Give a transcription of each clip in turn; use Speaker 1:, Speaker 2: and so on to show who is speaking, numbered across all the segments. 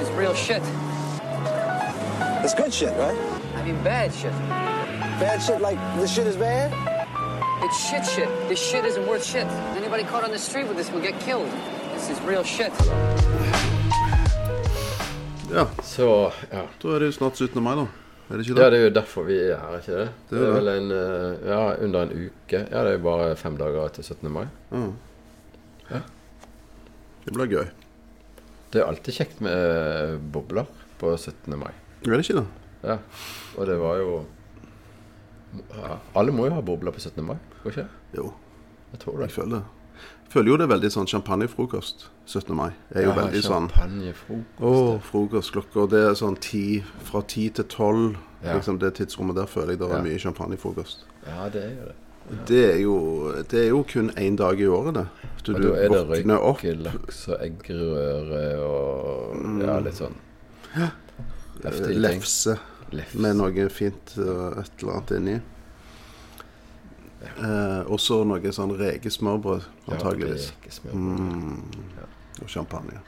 Speaker 1: is real shit.
Speaker 2: It's good shit, right?
Speaker 1: I mean, bad shit.
Speaker 2: Bad shit like this shit is bad?
Speaker 1: It's shit shit. This shit isn't worth shit. Anybody caught on the street with this will get killed. This is real shit.
Speaker 3: Ja,
Speaker 4: Så ja.
Speaker 3: da er det jo snart 17. mai, da. Er det ikke
Speaker 4: ja,
Speaker 3: det?
Speaker 4: det er jo derfor vi er her, ikke det?
Speaker 3: Det
Speaker 4: Det
Speaker 3: er det.
Speaker 4: er vel en, eh, ja, under en uke. Ja, det er jo bare fem dager til 17. mai.
Speaker 3: Mm. Det blir gøy.
Speaker 4: Det er alltid kjekt med eh, bobler på 17. mai.
Speaker 3: Er det ikke det?
Speaker 4: Ja, og det var jo ja, Alle må jo ha bobler på 17. mai, går ikke? det?
Speaker 3: Jo,
Speaker 4: Jeg tror det.
Speaker 3: jeg føler det. Jeg føler jo det er veldig sånn champagnefrokost 17. mai. Det er jo
Speaker 4: Ja,
Speaker 3: veldig sånn
Speaker 4: Champagnefrokost.
Speaker 3: Å, frokost klokka Det er sånn ti, fra ti til tolv.
Speaker 4: Ja.
Speaker 3: Liksom det tidsrommet der føler jeg det er
Speaker 4: Ja.
Speaker 3: mye champagnefrokost.
Speaker 4: Ja, det er jo det.
Speaker 3: Det er jo, det er jo kun én dag i året, det. Så
Speaker 4: Og
Speaker 3: du
Speaker 4: da er det
Speaker 3: våkner opp
Speaker 4: røyke, laks og eggerøre og ja, litt sånn heftige ting.
Speaker 3: Mm. lefse
Speaker 4: Lefse.
Speaker 3: med noe fint eh, et eller annet inni. Eh, og så noe sånn rekesmørbrød,
Speaker 4: Ja,
Speaker 3: antageligvis. Mm.
Speaker 4: rekesmørbrød.
Speaker 3: Og champagne.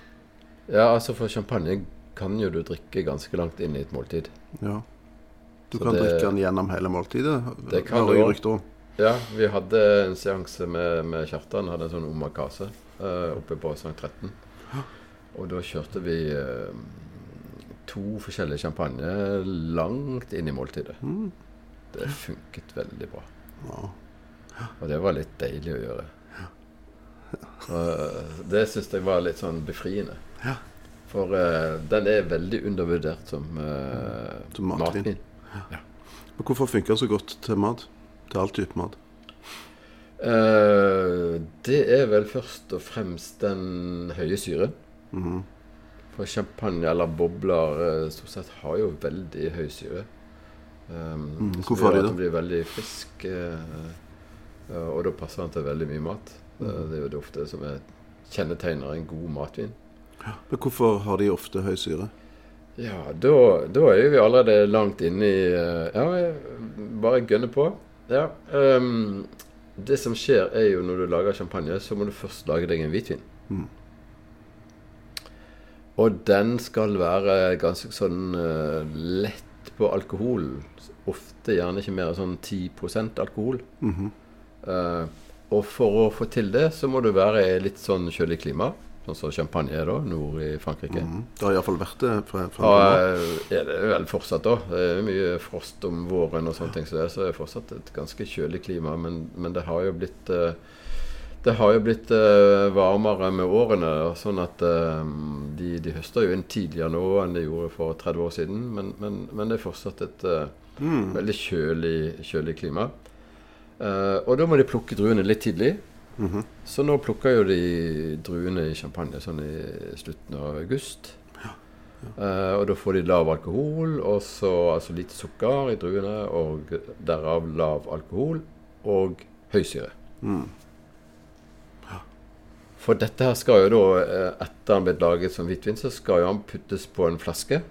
Speaker 4: Ja, altså for champagne kan jo du drikke ganske langt inn i et måltid.
Speaker 3: Ja. Du
Speaker 4: Så
Speaker 3: kan
Speaker 4: det-
Speaker 3: drikke den gjennom hele måltidet,
Speaker 4: Det
Speaker 3: hører
Speaker 4: kan du
Speaker 3: jeg
Speaker 4: også.
Speaker 3: rykter om.
Speaker 4: Ja, vi hadde en seanse med, med Kjartan, hadde en sånn omakase eh, oppe på Sankt 13. Og da kjørte vi eh, to forskjellige champagne langt inn i måltidet. Det funket veldig bra.
Speaker 3: Ja.
Speaker 4: Og det var litt deilig å gjøre. Og eh, det syns jeg var litt sånn befriende.
Speaker 3: Ja.
Speaker 4: For eh, den er veldig undervurdert som, eh,
Speaker 3: Som matvin.
Speaker 4: matvin.
Speaker 3: Men hvorfor funker det så godt til mat? Til all type mat?
Speaker 4: Eh, det er vel først og fremst den høye syren.
Speaker 3: Mhm.
Speaker 4: For champagne eller bobler eh, stort sett har jo veldig høy syre. Um, som
Speaker 3: Mhm, hvorfor har
Speaker 4: gjør
Speaker 3: de det?
Speaker 4: at Den blir veldig frisk, eh, eh, og da passer den til veldig mye mat. Eh,
Speaker 3: Mhm.
Speaker 4: det er jo det ofte som er kjennetegner en god matvin.
Speaker 3: Men hvorfor har de ofte høy syre?
Speaker 4: Ja, da, da er jo vi allerede langt inne i eh, Ja, vi bare gønner på. Ja. ehm, det som skjer, er jo når du lager champagne, så må du først lage deg en hvitvin. Og den skal være ganske sånn eh, lett på alkohol. Ofte gjerne ikke mer enn sånn 10 alkohol. Eh, og for å få til det, så må du være i litt sånn kjølig klima, sånn som champagne er da, nord i Frankrike.
Speaker 3: Mm. Det har iallfall vært det. Fra, fra nå.
Speaker 4: Og eh, er det vel fortsatt, da. Det er mye frost om våren og sånne ting, så det er- så er det fortsatt et ganske kjølig klima. Men, men det har jo blitt eh, Det har jo blitt eh, varmere med årene, og sånn at eh, de, de høster jo inn tidligere nå enn de gjorde for 30 år siden, men, men, men det er fortsatt et eh, veldig kjølig, kjølig klima. Eh, og da må de plukke druene litt tidlig. Så nå plukker jo de druene i champagne sånn i slutten av august. Eh, og da får de lav alkohol, og så altså lite sukker i druene, og derav lav alkohol og høysyre. For dette her skal jo da, eh, etter han blitt laget som hvitvin, så skal jo han puttes på en flaske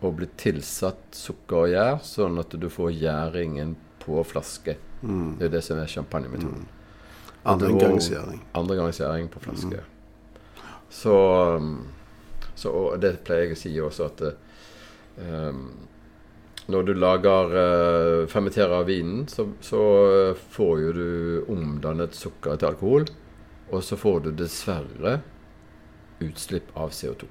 Speaker 4: og bli tilsatt sukker og gjær, sånn at du får gjæringen på flaske. Det er det som er champagnemetoden.
Speaker 3: Andre
Speaker 4: Og-
Speaker 3: gangsgjæring.
Speaker 4: Andre gangs gjæring på flaske. Så, um, så og det pleier jeg å si også at eh, um, når du lager eh, fermenterer vinen, så, så eh, får jo du omdannet sukker til alkohol. Og så får du dessverre utslipp av CO2.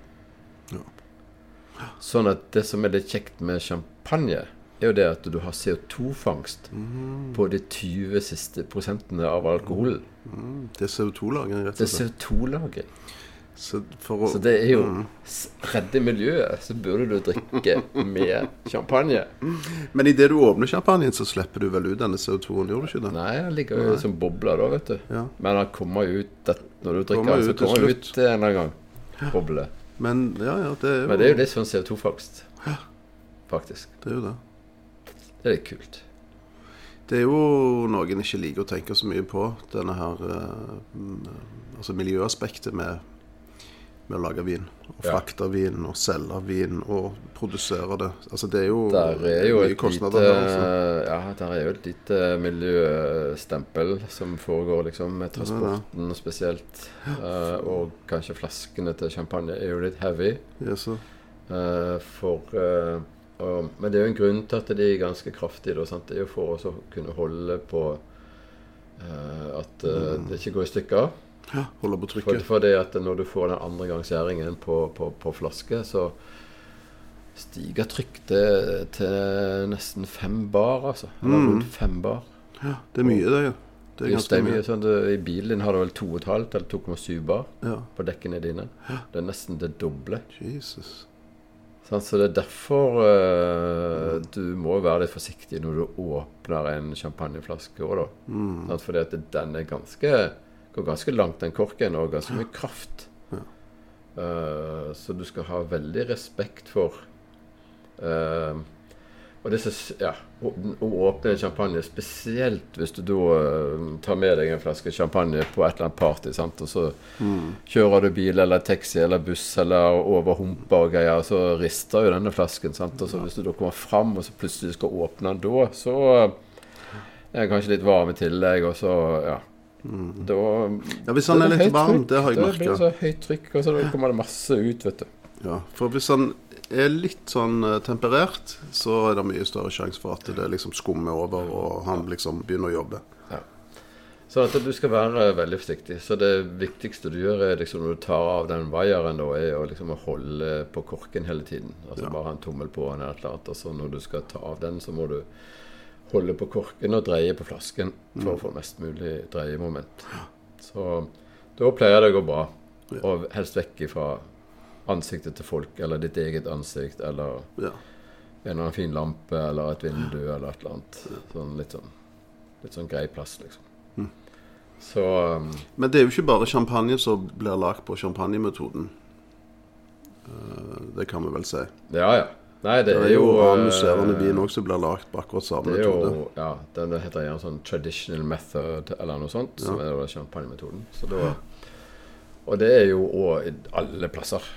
Speaker 4: Sånn at det som er litt kjekt med champagne, er jo det at du har CO2-fangst på de 20 siste prosentene av alkoholen.
Speaker 3: Det er CO2-lagring, rett
Speaker 4: Det
Speaker 3: og
Speaker 4: er
Speaker 3: slett.
Speaker 4: CO2-lagring.
Speaker 3: Så for å,
Speaker 4: Så det er
Speaker 3: Mm.
Speaker 4: jo s- redde miljøet, så burde du drikke mer champagne.
Speaker 3: Mm. Men idet du åpner champagnen, så slipper du vel ut denne CO2-en, gjør du ikke det?
Speaker 4: Nei, den ligger jo som bobler da, vet du.
Speaker 3: Ja.
Speaker 4: Men den kommer jo ut det, når du drikker
Speaker 3: Kommer
Speaker 4: den, så
Speaker 3: ut til
Speaker 4: kommer den
Speaker 3: slutt.
Speaker 4: ut en eller annen gang. Boble.
Speaker 3: Men ja, ja, det er jo
Speaker 4: Men det er jo litt sånn CO2-fangst, faktisk.
Speaker 3: det. Er jo det.
Speaker 4: Det er litt kult.
Speaker 3: Det er jo noen ikke liker å tenke så mye på, denne her eh, mm, Altså miljøaspektet med, med å lage vin. Og frakte vin, og selge vin, og produsere det. Altså, det er jo,
Speaker 4: Der er jo
Speaker 3: mye
Speaker 4: et
Speaker 3: kostnader
Speaker 4: lite
Speaker 3: her, altså.
Speaker 4: Ja, der er jo et lite miljøstempel som foregår, liksom, med transporten spesielt. Eh, og kanskje flaskene til champagne er jo litt heavy.
Speaker 3: Ja, så-
Speaker 4: eh, for eh, og, Men det er jo en grunn til at de er ganske kraftige. Da, sant? Det er jo for også å kunne holde på eh, at eh,
Speaker 3: Mm.
Speaker 4: det ikke går i stykker.
Speaker 3: ja, holde på
Speaker 4: For,
Speaker 3: trykket.
Speaker 4: for det at når du får den andre gangsgjæringen på, på, på flaske, så stiger trykk til, til nesten fem bar, altså. Eller rundt fem bar.
Speaker 3: Ja, det er mye, det. Ja. Mm. Det er
Speaker 4: Just
Speaker 3: ganske
Speaker 4: det, mye,
Speaker 3: mye.
Speaker 4: sånn, du, I bilen din har du vel 2,5 eller 2,7 bar
Speaker 3: Ja.
Speaker 4: på dekkene dine. Det er nesten det doble.
Speaker 3: Jesus.
Speaker 4: Sant, så det er derfor eh, du må være litt forsiktig når du åpner en champagneflaske òg, da. Sant, fordi at den er ganske går ganske langt, den korken, og ganske mye kraft. Eh, så du skal ha veldig respekt for eh, Og det som s- Ja, å å åpne en champagne, spesielt hvis du da eh, tar med deg en flaske champagne på et eller annet party, sant, og så Kjører du bil eller taxi eller buss eller over humper og greier, så rister jo denne flasken. sant? Og så Hvis du da kommer fram og så plutselig skal åpne den da, så eh, er den kanskje litt varm i tillegg, og så Ja. Da
Speaker 3: Ja, hvis han Sånn
Speaker 4: Da
Speaker 3: er
Speaker 4: det
Speaker 3: litt
Speaker 4: høyt
Speaker 3: varm,
Speaker 4: trykk.
Speaker 3: det har jeg
Speaker 4: Da blir det
Speaker 3: merka.
Speaker 4: så høyt trykk, og så da kommer det masse ut, vet du.
Speaker 3: Ja, for hvis han er litt sånn eh, temperert, så er det mye større sjanse for at det liksom skummer over, og han liksom begynner å jobbe.
Speaker 4: Så Sånn at du skal være veldig forsiktig. Så det viktigste du gjør er liksom når du tar av den vaieren, da, er å liksom å holde på korken hele tiden. Altså bare ha en tommel på den eller et eller annet. Og så når du skal ta av den, så må du holde på korken og dreie på flasken for å få mest mulig dreiemoment. Så da pleier det å gå bra. Og helst vekk fra ansiktet til folk, eller ditt eget ansikt, eller
Speaker 3: Ja.
Speaker 4: en eller annen fin lampe, eller et vindu, eller et eller annet. Sånn litt sånn, litt sånn grei plass, liksom.
Speaker 3: Mm.
Speaker 4: Så um,
Speaker 3: Men det er jo ikke bare champagne som blir lagd på champagnemetoden. Eh, Det kan vi vel si.
Speaker 4: Ja, ja. Nei, det,
Speaker 3: Det er jo
Speaker 4: eh,
Speaker 3: ramuserende vin òg som blir lagd på akkurat samme
Speaker 4: Det er
Speaker 3: metode.
Speaker 4: jo, ja, den heter gjerne sånn traditional method eller noe sånt, som er da champagnemetoden. Så da, og det er jo òg i alle plasser.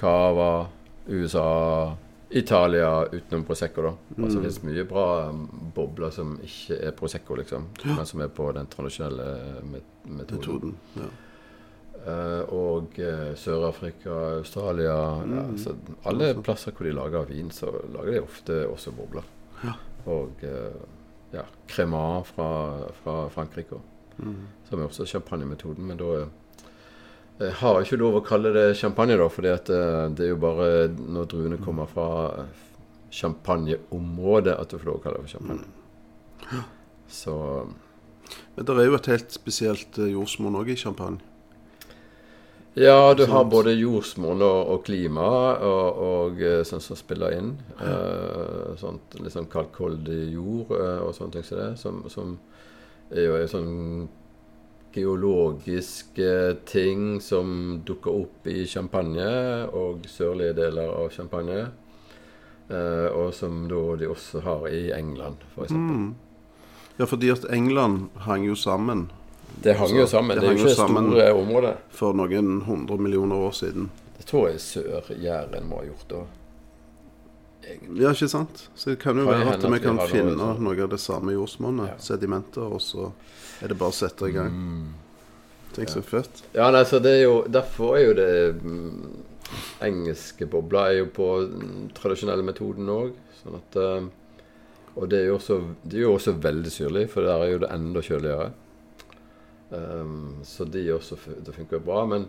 Speaker 4: Cava, USA, Italia utenom Prosecco, da.
Speaker 3: Mm.
Speaker 4: Altså det finnes mye bra um, bobler som ikke er Prosecco, liksom, men som er på den tradisjonelle eh, met
Speaker 3: Metoden.
Speaker 4: metoden.
Speaker 3: Ja.
Speaker 4: Eh, og eh, Sør-Afrika, Australia ja, så Alle plasser hvor de lager vin, så lager de ofte også bobler. Og eh, ja, crema fra, fra Frankrike, også, som er også champagnemetoden. Men da eh, jeg har ikke lov å kalle det champagne, da, fordi at eh, det er jo bare når druene kommer fra eh, champagneområdet at du får lov å kalle det for champagne. Så
Speaker 3: Men det er jo et helt spesielt eh, jordsmonn òg i champagne.
Speaker 4: Ja, du har
Speaker 3: Sant.
Speaker 4: både jordsmonn og, og klima og, og eh, sånn som spiller inn. Eh, sånt, litt sånn kalkholdig jord eh, og sånne ting som det, som, som er jo en sånn geologisk eh, ting som dukker opp i Champagne og sørlige deler av Champagne. Eh, og som da de også har i England, f.eks. eksempel.
Speaker 3: Ja, fordi at England hang jo sammen
Speaker 4: Det hang jo sammen.
Speaker 3: Mm. det
Speaker 4: Det, er
Speaker 3: hang
Speaker 4: jo
Speaker 3: jo
Speaker 4: ikke
Speaker 3: sammen.
Speaker 4: store områder.
Speaker 3: for noen hundre millioner år siden.
Speaker 4: Det tror jeg Sør-Jæren må ha gjort da.
Speaker 3: Ja, ikke sant? Så det kan jo
Speaker 4: Kan
Speaker 3: være
Speaker 4: hende
Speaker 3: at vi
Speaker 4: at vi
Speaker 3: kan
Speaker 4: har noe
Speaker 3: finne
Speaker 4: sånn.
Speaker 3: noe av det samme jordsmonnet,
Speaker 4: Ja. Mm.
Speaker 3: sedimenter, og så er det bare å sette i gang. Tenk så fett.
Speaker 4: Ja, nei, så det er jo Derfor er jo det mm, Engelske bobler er jo på den tradisjonelle metoden òg. Sånn at eh, Og det er jo også, det er jo også veldig syrlig, for der er jo det enda kjøligere. Ehm, så de også fu- Det funker jo bra, men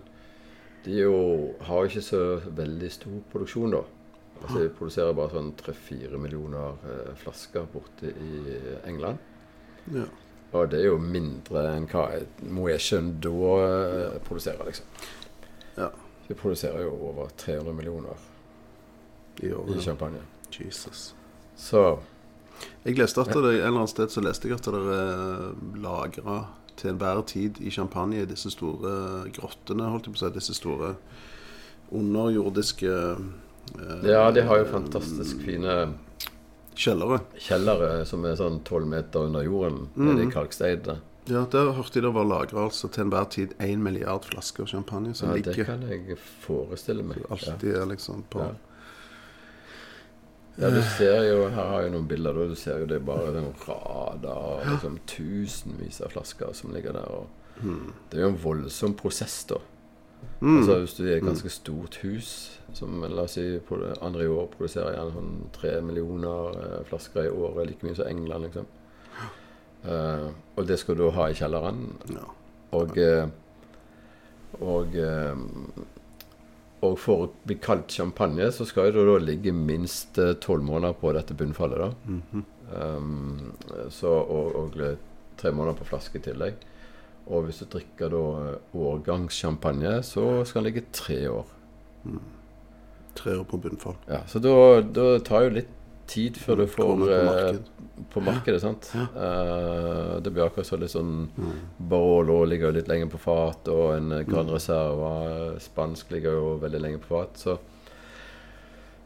Speaker 4: de er jo, har jo ikke så veldig stor produksjon, da. Altså De produserer bare sånn tre-fire millioner eh, flasker borte i England.
Speaker 3: Ja.
Speaker 4: Og det er jo mindre enn hva Moët Chandon eh, produserer, liksom.
Speaker 3: Ja.
Speaker 4: De produserer jo over 300 millioner
Speaker 3: I år,
Speaker 4: i
Speaker 3: ja.
Speaker 4: champagne.
Speaker 3: Jesus.
Speaker 4: Så
Speaker 3: Jeg leste at det, et eller annet sted så leste jeg at det er lagra til enhver tid i champagne i disse store eh, grottene, holdt jeg på å si, disse store underjordiske eh,
Speaker 4: Ja, de har jo fantastisk fine
Speaker 3: kjellere. Mm.
Speaker 4: kjellere som er sånn 12 meter under jorden, nede i kalkstedet.
Speaker 3: Ja, Der hørte jeg det var lagra altså, til enhver tid én milliard flasker champagne som
Speaker 4: Ja, det
Speaker 3: ligger
Speaker 4: kan jeg forestille meg. Ja.
Speaker 3: alltid er liksom på
Speaker 4: Ja. Ja, du ser jo, Her har jeg noen bilder. da, Du ser jo det er bare sånn rader av liksom, tusenvis av flasker som ligger der. Og det er jo en voldsom prosess, da. Altså Hvis du er et ganske stort hus som la oss si på det andre i år produserer gjerne sånn tre millioner eh, flasker i året, like mye som England, liksom. Eh, og det skal du ha i kjelleren.
Speaker 3: Ja.
Speaker 4: Og eh, Og, eh, og for å bli kalt champagne, så skal jo det da ligge minst eh, tolv måneder på dette bunnfallet. da. um, så, og, og tre måneder på flaske i tillegg. Og hvis du drikker da årgangssjampanje, så skal den ligge tre år.
Speaker 3: tre år på bunnfall.
Speaker 4: Ja, så da, da tar jo litt tid før du får
Speaker 3: Mm. Kommer på
Speaker 4: eh,
Speaker 3: marked.
Speaker 4: på markedet, sant? Eh, det blir akkurat så litt sånn
Speaker 3: Mm.
Speaker 4: Barolo ligger jo litt lenger på fat, og en eh, Gran Reserva eh, spansk ligger jo veldig lenge på fat, så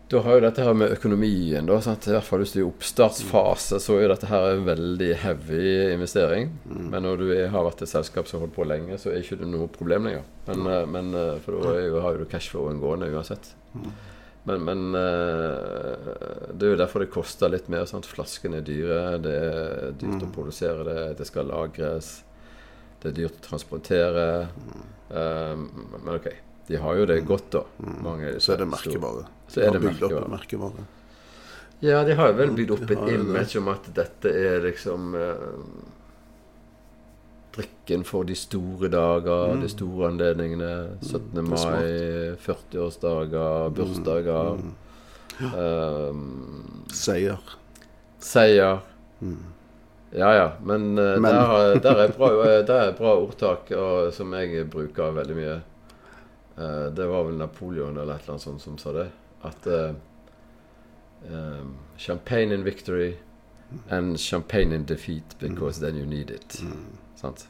Speaker 4: da har jo dette her med økonomien, da, sant? i hvert fall hvis du er i oppstartsfase, så er jo dette her en veldig heavy investering.
Speaker 3: Mm.
Speaker 4: Men når du er, har vært et selskap som har holdt på lenge, så er ikke det noe problem lenger. Men, eh, men eh, for da er jo, har jo du cashflowen gående uansett. Men, men eh, det er jo derfor det koster litt mer. Sant? Flaskene er dyre. Det er dyrt
Speaker 3: Mm.
Speaker 4: å produsere det. Det skal lagres. Det er dyrt å transportere. Eh, men ok, de har jo det godt, da. Mange av
Speaker 3: Mm. Så
Speaker 4: disse
Speaker 3: er det
Speaker 4: store-
Speaker 3: merkevare.
Speaker 4: Så er
Speaker 3: De har
Speaker 4: det
Speaker 3: bygd opp
Speaker 4: merkevare.
Speaker 3: et merkevare.
Speaker 4: Ja, de har jo vel bygd opp
Speaker 3: Mm. De
Speaker 4: et
Speaker 3: har jo det.
Speaker 4: image om at dette er liksom eh, Drikken for de store dager, de store anledningene. 17.
Speaker 3: Mm. er smart.
Speaker 4: mai, 40-årsdager,
Speaker 3: Mm.
Speaker 4: bursdager. Eh,
Speaker 3: Seier.
Speaker 4: Seier. Ja ja, men, eh,
Speaker 3: Mm. Men.
Speaker 4: Der, har- der, er bra, eh, der er bra ordtak og, som jeg bruker veldig mye. Eh, det var vel Napoleon eller et eller annet sånt som sa det. At eh, eh, Champagne in victory and champagne in defeat because
Speaker 3: Mm.
Speaker 4: then you need it. Sant?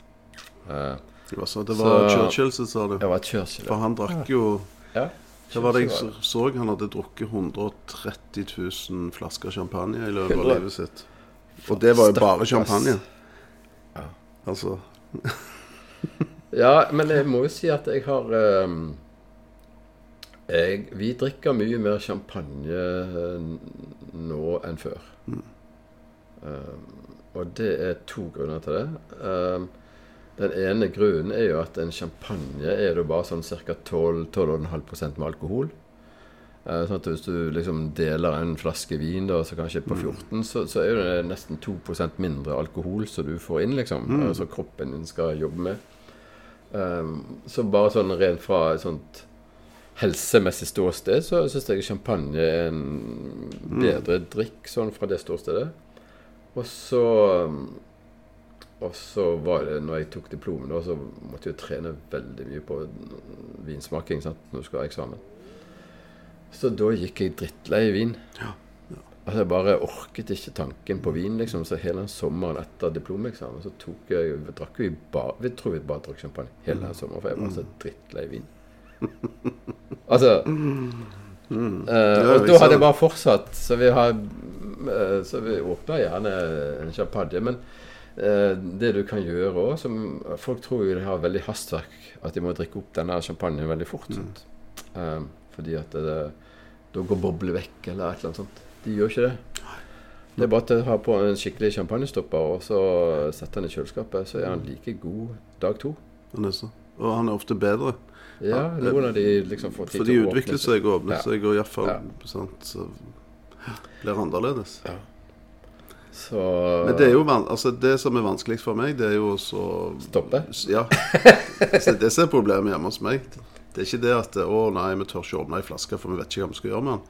Speaker 4: Eh,
Speaker 3: Det var, så, det var
Speaker 4: Så-
Speaker 3: Churchill som sa det.
Speaker 4: det var Churchill.
Speaker 3: For han drakk jo
Speaker 4: Ja.
Speaker 3: Det var det jeg
Speaker 4: Churchill
Speaker 3: så, så han hadde drukket 130 000 flasker champagne i løpet av
Speaker 4: Hundre.
Speaker 3: livet sitt. Og det var jo bare
Speaker 4: Stakkars.
Speaker 3: champagne. Altså
Speaker 4: Ja, men jeg må jo si at jeg har ehm, jeg, Vi drikker mye mer champagne eh, n- nå enn før. Ehm, og det er to grunner til det. Ehm, den ene grunnen er jo at en champagne er jo bare sånn ca. 12-12,5 med alkohol. Eh, sånn at Hvis du liksom deler en flaske vin, da, så kanskje på 14, så, så er det nesten 2 mindre alkohol som du får inn, liksom. eh, Som kroppen din skal jobbe med. Um, så bare sånn rent fra et sånt helsemessig ståsted, så syns jeg champagne er en bedre drikk sånn fra det ståstedet. Og så um, Og så var det når jeg tok diplomet, da, så måtte jeg jo trene veldig mye på vinsmaking sant, når du skal ha eksamen. Så da gikk jeg drittlei vin. Altså Jeg bare orket ikke tanken på vin, liksom. Så hele den sommeren etter diplomeksamen så tok jeg vi drakk vi bare Vi tror vi bare drakk champagne hele
Speaker 3: Mm.
Speaker 4: den sommeren, for jeg var så drittlei vin. Altså eh,
Speaker 3: Mm. Ja,
Speaker 4: Og
Speaker 3: vi ser
Speaker 4: da hadde
Speaker 3: det.
Speaker 4: jeg bare fortsatt, så vi har eh, Så vi åpner gjerne en champagne. Men eh, det du kan gjøre òg, som Folk tror jo de har veldig hastverk, at de må drikke opp denne champagnen veldig fort.
Speaker 3: Mm.
Speaker 4: sant? Eh, fordi at det, da går bobler vekk, eller et eller annet sånt. De gjør ikke det. Det er bare til å ha på en skikkelig champagnestopper og så sette den i kjøleskapet, så er han like god dag to.
Speaker 3: han er så. Og han er ofte bedre.
Speaker 4: Ja,
Speaker 3: Ja,
Speaker 4: noen av de liksom får tid
Speaker 3: For de
Speaker 4: til å åpne
Speaker 3: utvikler seg og åpner
Speaker 4: Ja.
Speaker 3: seg, og iallfall
Speaker 4: Ja.
Speaker 3: sant, så blir det annerledes.
Speaker 4: Så
Speaker 3: Men det er jo van altså, det som er vanskeligst for meg, det er jo så
Speaker 4: stoppe.
Speaker 3: Ja. Så det som er problemet hjemme hos meg, det er ikke det at Å nei, vi tør ikke åpne ei flaske, for vi vet ikke hva vi skal gjøre med den.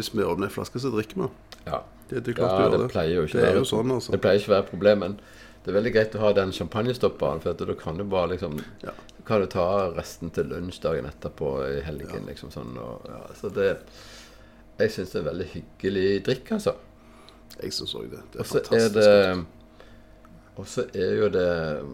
Speaker 3: Hvis vi åpner ei flaske, så drikker vi den.
Speaker 4: Ja,
Speaker 3: Det, det er klart
Speaker 4: ja
Speaker 3: du gjør
Speaker 4: det
Speaker 3: det.
Speaker 4: pleier jo ikke
Speaker 3: det er
Speaker 4: være-
Speaker 3: jo sånn, altså.
Speaker 4: Det pleier ikke å være problem, men det er veldig greit å ha den champagnestopperen, for at da kan du bare liksom
Speaker 3: Ja.
Speaker 4: Kan du ta resten til lunsjdagen etterpå i helgen, liksom sånn og ja, Så det Jeg syns det er veldig hyggelig drikk, altså.
Speaker 3: Jeg syns òg det. Det er
Speaker 4: Og så Altså, er
Speaker 3: fantastisk.
Speaker 4: det Og så er jo det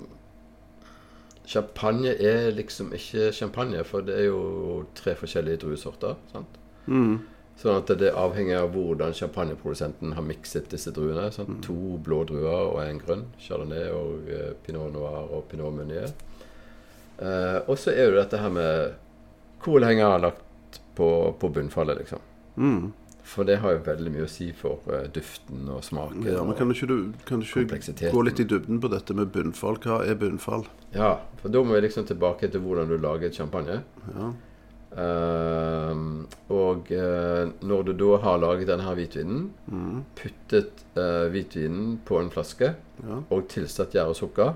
Speaker 4: Champagne er liksom ikke champagne, for det er jo tre forskjellige druesorter. sant? Sånn at det avhenger av hvordan champagneprodusenten har mikset disse druene. Sånn,
Speaker 3: Mm.
Speaker 4: to blå druer og en grønn. Chardonnay og eh, pinot noir og pinot meunier. Eh, og så er det dette her med hvor lenge har jeg lagt på, på bunnfallet, liksom.
Speaker 3: Mm.
Speaker 4: For det har jo veldig mye å si for eh, duften og smaken.
Speaker 3: Ja, men
Speaker 4: og-
Speaker 3: kan du ikke, du, kan du ikke
Speaker 4: Kompleksiteten.
Speaker 3: gå litt i dybden på dette med bunnfall? Hva er bunnfall?
Speaker 4: Ja, for da må vi liksom tilbake til hvordan du lager champagne.
Speaker 3: Ja.
Speaker 4: Ehm, og eh, når du da har laget denne her hvitvinen,
Speaker 3: Mm.
Speaker 4: puttet eh, hvitvinen på en flaske
Speaker 3: Ja. Mhm.
Speaker 4: og tilsatt gjær og sukker,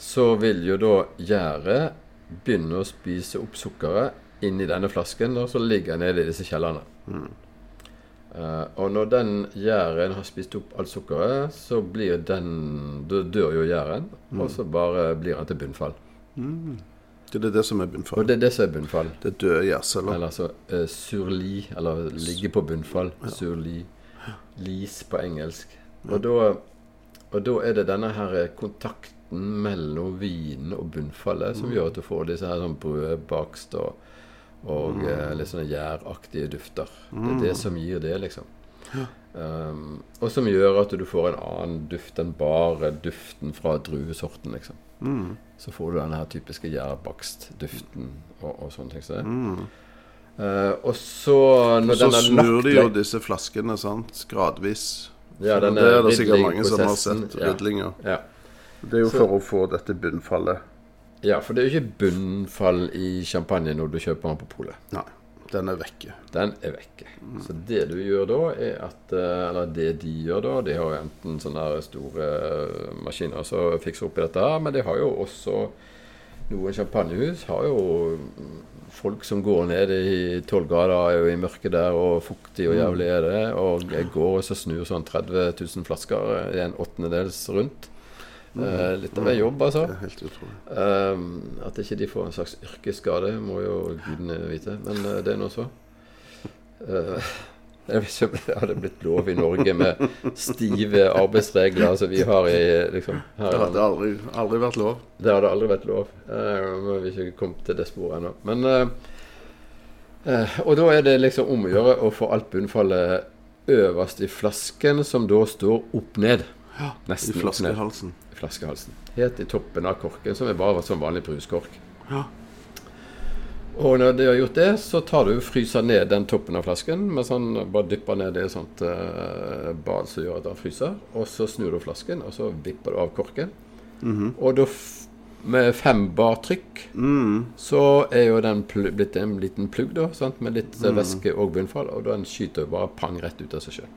Speaker 4: så vil jo da gjæret begynne å spise opp sukkeret inni denne flasken, og så ligger den nede i disse kjellerne. Eh, og når den gjæren har spist opp alt sukkeret, så blir den Da dør jo gjæren,
Speaker 3: Mm.
Speaker 4: og så bare blir den til bunnfall.
Speaker 3: Det er det som er
Speaker 4: Og
Speaker 3: bunnfall.
Speaker 4: det er det som er bunnfall.
Speaker 3: Det er døde gjærceller.
Speaker 4: Eller altså eh, surli, eller ligge på bunnfall. Surli. Lis på engelsk. Og da, og da er det denne her eh, kontakten mellom vinen og bunnfallet som gjør at du får disse her sånn brød, bakst og,
Speaker 3: Mm.
Speaker 4: og eh, litt sånne gjæraktige dufter. Det er det som gir det, liksom. Um, og som gjør at du får en annen duft enn bare duften fra druesorten, liksom.
Speaker 3: Mm.
Speaker 4: Så får du denne her typiske gjærbakstduften og, og sånne ting. som det. Eh, og så når
Speaker 3: Mm. Så
Speaker 4: den er
Speaker 3: snur
Speaker 4: lagt
Speaker 3: de jo
Speaker 4: le-
Speaker 3: disse flaskene sant? gradvis. Så
Speaker 4: Ja, denne
Speaker 3: det er det sikkert mange som har
Speaker 4: riddlingprosessen,
Speaker 3: sett.
Speaker 4: ja.
Speaker 3: Ridlinger.
Speaker 4: ja.
Speaker 3: Det er jo for å få dette bunnfallet.
Speaker 4: ja, for det er jo ikke bunnfall i champagne når du kjøper den på polet.
Speaker 3: Nei, den er vekke.
Speaker 4: Den er vekke. Så det du gjør da, er at eh, Eller det de gjør da, de har jo enten sånne her store eh, maskiner som fikser opp i dette her, men de har jo også Noen champagnehus har jo folk som går ned i 12 grader er jo i mørket der, og fuktig og jævlig er det. Og jeg går og så snur sånn 30 000 flasker i en åttendedels rundt. Eh, litt av en jobb, altså.
Speaker 3: Det er helt utrolig.
Speaker 4: Ehm, at ikke de får en slags yrkesskade, må jo gudene vite. Men eh, det er nå så. Eh, jeg vet ikke om det hadde blitt lov i Norge med stive arbeidsregler som vi har i liksom, her i
Speaker 3: Det
Speaker 4: landet.
Speaker 3: hadde aldri, aldri vært lov.
Speaker 4: Det hadde aldri vært lov. Eh, Vi har ikke kommet til det sporet ennå. Men eh, eh, Og da er det liksom om å gjøre å få alt bunnfallet øverst i flasken, som da står opp ned.
Speaker 3: I
Speaker 4: Nesten opp ned.
Speaker 3: flaskehalsen.
Speaker 4: I flaskehalsen. Helt i toppen av korken, som er bare var sånn vanlig bruskork.
Speaker 3: Ja.
Speaker 4: Og når du har gjort det, så tar du og fryser ned den toppen av flasken. Mens han bare dypper ned i et sånt eh, bad som gjør at han fryser. Og så snur du flasken, og så vipper du av korken.
Speaker 3: Mhm.
Speaker 4: Og da f med fem bar trykk
Speaker 3: Mm.
Speaker 4: så er jo den pl blitt en liten plugg, da, sant? med litt
Speaker 3: Mm.
Speaker 4: eh, væske og bunnfall. Og den skyter jo bare pang rett ut av seg sjøl.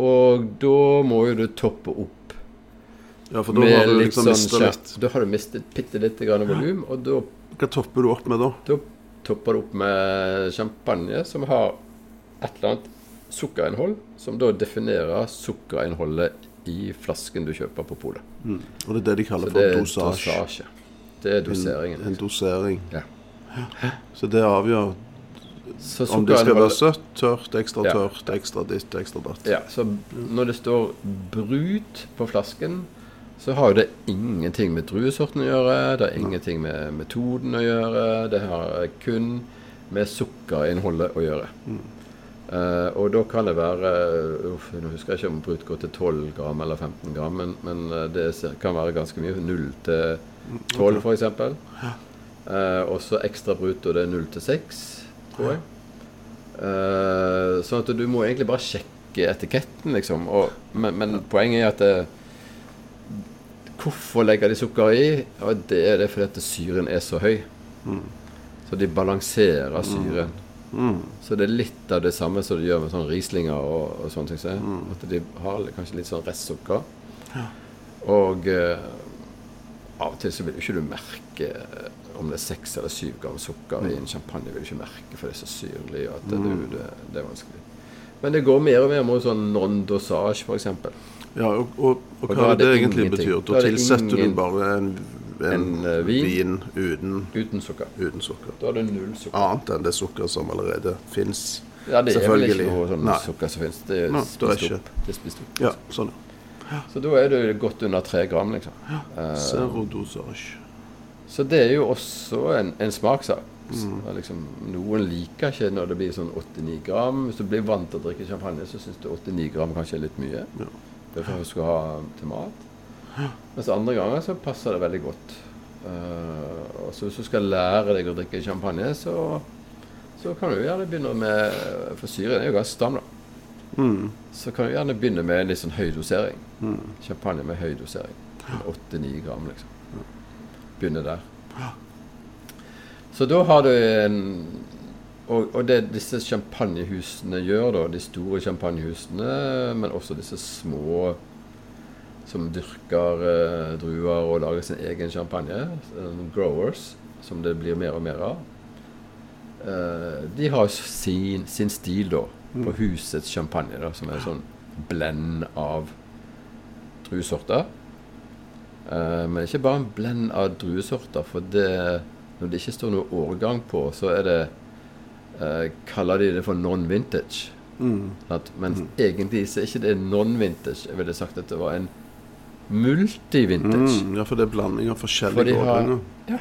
Speaker 4: og da må jo du toppe opp
Speaker 3: Ja, for da
Speaker 4: med
Speaker 3: har du
Speaker 4: litt
Speaker 3: liksom
Speaker 4: sånn
Speaker 3: mista
Speaker 4: skjær-
Speaker 3: litt.
Speaker 4: Da har du mistet bitte lite grann volum, og da
Speaker 3: Hva topper du opp med da?
Speaker 4: da topper det opp med champagne som har et eller annet sukkerinnhold, som da definerer sukkerinnholdet i flasken du kjøper på polet.
Speaker 3: Og det er det de kaller
Speaker 4: Så det
Speaker 3: for
Speaker 4: er
Speaker 3: dosasje.
Speaker 4: dosasje. Det er
Speaker 3: En,
Speaker 4: doseringen.
Speaker 3: en dosering.
Speaker 4: Ja.
Speaker 3: Så det avgjør
Speaker 4: Så
Speaker 3: om det skal være
Speaker 4: sukkerinnholdet-
Speaker 3: søtt, tørt, ekstra
Speaker 4: Ja.
Speaker 3: tørt, ekstra ditt, ekstra datt.
Speaker 4: Ja, så når det står brut på flasken, så har jo det ingenting med druesorten å gjøre, det har ingenting med metoden å gjøre, det har kun med sukkerinnholdet å gjøre. Eh, og da kan det være uff, Nå husker jeg ikke om brut går til 12 gram eller 15 gram, men, men eh, det ser- kan være ganske mye. 0 til 12 f.eks. Uh, og så ekstra brut, og det er 0 til 6, tror jeg. Eh, sånn at du må egentlig bare sjekke etiketten, liksom. Og, men men poenget er at det, Hvorfor legger de sukker i? Ja, det er det fordi at syren er så høy. Så de balanserer syren. Så det er litt av det samme som de gjør med sånn rislinger og, og sånne ting. som det. At de har li- kanskje litt sånn restsukker. Og eh, av og til så vil jo ikke du merke eh, om det er seks eller syv gram sukker i en champagne. vil du ikke merke, For det er så syrlig, og at det,
Speaker 3: Mm.
Speaker 4: du, det, det er vanskelig. Men det går mer og mer mot sånn non-dosage, f.eks.
Speaker 3: Ja, og, og, og
Speaker 4: Og da
Speaker 3: hva
Speaker 4: er
Speaker 3: er det,
Speaker 4: det
Speaker 3: egentlig
Speaker 4: ingenting.
Speaker 3: betyr?
Speaker 4: Da
Speaker 3: Da
Speaker 4: er det
Speaker 3: tilsetter
Speaker 4: ingen-
Speaker 3: du bare en, en,
Speaker 4: En, eh, vin.
Speaker 3: vin, uten,
Speaker 4: Uten sukker.
Speaker 3: uten sukker.
Speaker 4: Da har du null sukker.
Speaker 3: Annet enn det sukkeret som allerede fins.
Speaker 4: Ja, det er vel ikke
Speaker 3: Selvfølgelig.
Speaker 4: noe sånn
Speaker 3: Nei.
Speaker 4: sukker som finnes. Det er
Speaker 3: Nei, det er
Speaker 4: spist
Speaker 3: ikke.
Speaker 4: opp. Det er spist opp.
Speaker 3: Ja, sånn.
Speaker 4: Så da er du godt under tre gram, liksom. Eh,
Speaker 3: Zero dosage.
Speaker 4: så det er jo også en, en smakssak.
Speaker 3: Mm.
Speaker 4: Og Liksom, noen liker ikke når det blir sånn 89 gram. Hvis du blir vant til å drikke champagne, så syns du 89 gram kanskje er litt mye.
Speaker 3: Ja.
Speaker 4: Derfor skal du ha til mat. Mens andre ganger så passer det veldig godt. Eh, og så hvis du skal lære deg å drikke champagne, så, så kan du gjerne begynne med For syren er jo ganske stam, da.
Speaker 3: Mm.
Speaker 4: Så kan du gjerne begynne med en litt sånn høy dosering. Champagne med høy dosering. 8-9 gram, liksom. Begynne der. Så da har du en Og, og det disse champagnehusene gjør, da, de store champagnehusene, men også disse små som dyrker eh, druer og lager sin egen champagne, eh, growers, som det blir mer og mer av, eh, de har sin, sin stil da,
Speaker 3: Mm.
Speaker 4: på husets champagne, da, som er en sånn blend av druesorter. Eh, men ikke bare en blend av druesorter, for det, når det ikke står noe årgang på, så er det eh, Kaller de det for non-vintage.
Speaker 3: Mm.
Speaker 4: Sant? Men egentlig så er ikke det non-vintage. Jeg ville sagt at det var en multi-vintage.
Speaker 3: Mm. Ja, for det er blanding av
Speaker 4: For de
Speaker 3: forskjellige
Speaker 4: har-
Speaker 3: årganger.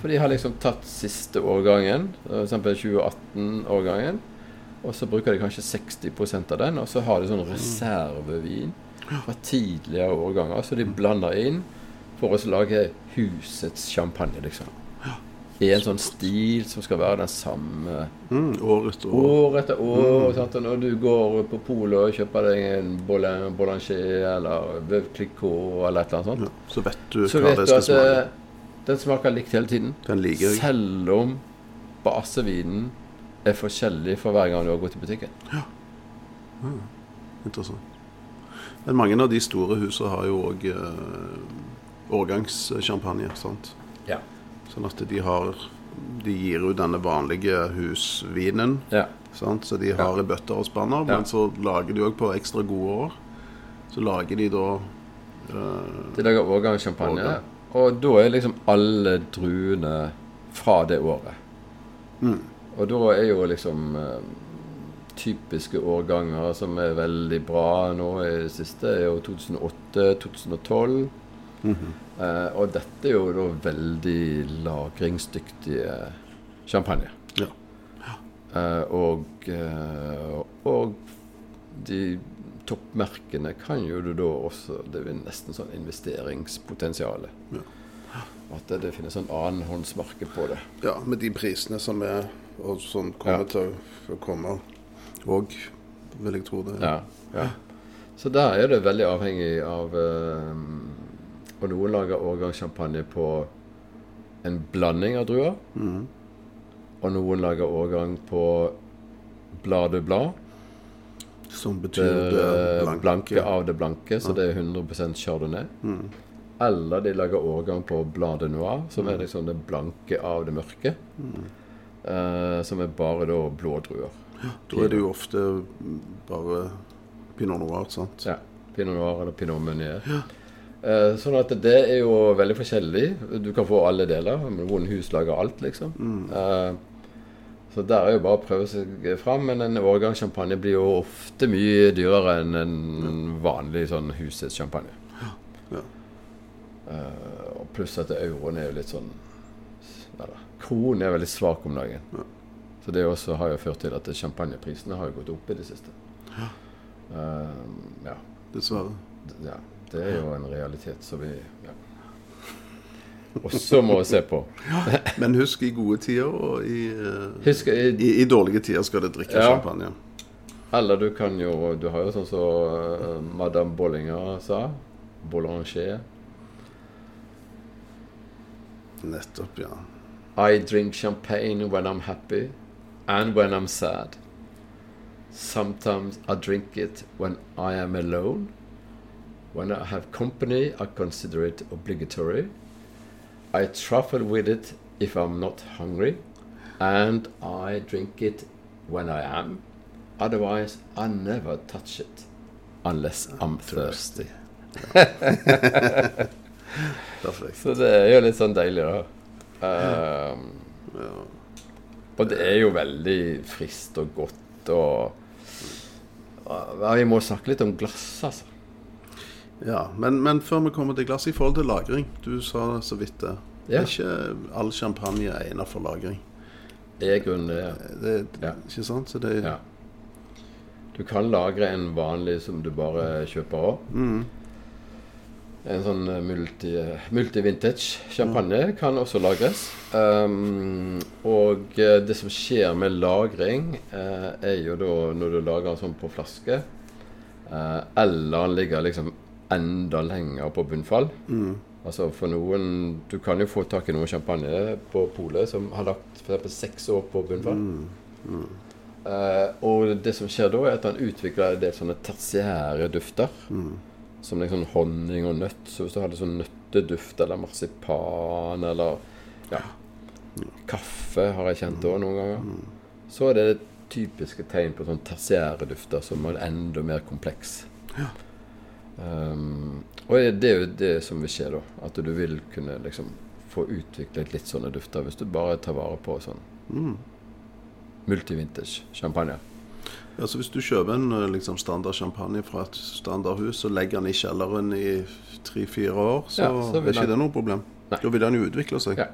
Speaker 4: For de har liksom tatt siste årgangen, f.eks. 2018-årgangen, og så bruker de kanskje 60 av den, og så har de sånn reservevin fra tidligere årganger, så de blander inn for å lage husets champagne, liksom. I en sånn stil som skal være den samme
Speaker 3: Mm. År etter år.
Speaker 4: år etter år. Sant? Og sånn når du går på polet og kjøper deg en Bollan- Bollanger eller Veuve Clicquot eller et eller annet sånt,
Speaker 3: Ja. Så vet du
Speaker 4: så
Speaker 3: hva
Speaker 4: vet
Speaker 3: det
Speaker 4: du
Speaker 3: skal
Speaker 4: at
Speaker 3: smake.
Speaker 4: eh, den smaker likt hele tiden.
Speaker 3: Den liker jeg.
Speaker 4: Selv om basevinen er forskjellig for hver gang du har gått i butikken.
Speaker 3: Interessant. Men mange av de store husene har jo òg eh, årgangssjampanje. sant?
Speaker 4: Ja.
Speaker 3: Sånn at de har De gir ut denne vanlige husvinen,
Speaker 4: ja.
Speaker 3: sant? så de har i bøtter og spanner.
Speaker 4: Ja.
Speaker 3: Men så lager de òg på ekstra gode år. Så lager de da eh,
Speaker 4: De lager årgangssjampanje,
Speaker 3: Årgang.
Speaker 4: og da er liksom alle druene fra det året. Og da er jo liksom eh, typiske årganger som er veldig bra nå i det siste, er jo 2008-2012. eh, og dette er jo da veldig lagringsdyktige champagne.
Speaker 3: Ja.
Speaker 4: Eh, og, eh, og de toppmerkene kan jo du da også Det er nesten sånn investeringspotensial.
Speaker 3: Ja.
Speaker 4: At det, det finnes sånn annenhåndsmarked på det.
Speaker 3: Ja, med de prisene som er, og som kommer
Speaker 4: Ja.
Speaker 3: til å komme òg, vil jeg tro det.
Speaker 4: Ja, ja. Så der er det veldig avhengig av eh, Og noen lager årgangssjampanje på en blanding av druer. Og noen lager årgang på blad de blanc.
Speaker 3: Som betyr det,
Speaker 4: det
Speaker 3: blanke.
Speaker 4: Eh, blanke av det blanke, så det er 100 chardonnay. Eller de lager årgang på Blad de Noir, som er liksom det blanke av det mørke. eh, som er bare da blådruer.
Speaker 3: Da er det jo ofte bare pinot noir, sant?
Speaker 4: Ja. Pinot noir eller pinot meunier. Eh, sånn at det er jo veldig forskjellig. Du kan få alle deler. men Noen hus lager alt, liksom. Eh, så der er jo bare å prøve seg fram. Men en årgang champagne blir jo ofte mye dyrere enn en vanlig sånn husets champagne.
Speaker 3: Ja.
Speaker 4: Eh, og pluss at euroen er jo litt sånn Eller kronen er veldig svak om dagen. Så det også har jo ført til at champagneprisene har jo gått opp i det siste. Eh, ja.
Speaker 3: Dessverre.
Speaker 4: D- ja, det er jo en realitet som vi ja. også må se på.
Speaker 3: Men husk i gode tider og i, eh,
Speaker 4: Husk, i-
Speaker 3: i, i dårlige tider skal det drikke
Speaker 4: Ja.
Speaker 3: champagne.
Speaker 4: eller du kan jo Du har jo sånn som eh, Madame Bollinger sa. Boulanger.
Speaker 3: Nettopp, ja.
Speaker 4: I drink champagne when I'm happy and when I'm sad. Sometimes I drink it when I am alone. When I have company, I consider it obligatory. I truffle with it if I'm not hungry. And I drink it when I am. Otherwise, I never touch it unless I'm thirsty.
Speaker 3: Perfekt.
Speaker 4: Så det er jo litt sånn deilig, da. Ehm, Og det er jo veldig friskt og godt og ja, Vi må snakke litt om glass, altså.
Speaker 3: Ja, men, men før vi kommer til glass, i forhold til lagring Du sa så vidt det.
Speaker 4: Ja.
Speaker 3: Ikke all champagne er egnet for lagring.
Speaker 4: er grunnen det. ja.
Speaker 3: Det,
Speaker 4: Ja.
Speaker 3: Ikke sant? Så det,
Speaker 4: Ja. Du kan lagre en vanlig som du bare kjøper òg. En sånn multi, multi-vintage-champagne kan også lagres. Um, og eh, det som skjer med lagring, eh, er jo da når du lager den sånn på flaske, eh, eller den ligger liksom enda lenger på bunnfall. Altså for noen Du kan jo få tak i noen champagne på polet som har lagt for eksempel seks år på bunnfall. Eh, og det som skjer da, er at han utvikler en del sånne tertiære dufter. Som liksom honning og nøtt. Så hvis du hadde sånn nøtteduft eller marsipan eller ja, kaffe har jeg kjent òg noen ganger. Så er det typiske tegn på sånne tertiære dufter som er enda mer kompleks. Um, og det er jo det som vil skje da. At du vil kunne liksom få utviklet litt sånne dufter hvis du bare tar vare på sånn multivintage champagne.
Speaker 3: Altså Hvis du kjøper en eh, liksom, standard champagne fra et standardhus og legger den i kjelleren i tre-fire år, så,
Speaker 4: Ja, så vil
Speaker 3: er ikke
Speaker 4: den-
Speaker 3: det noe problem.
Speaker 4: Nei.
Speaker 3: Da vil den jo utvikle seg.
Speaker 4: Ja.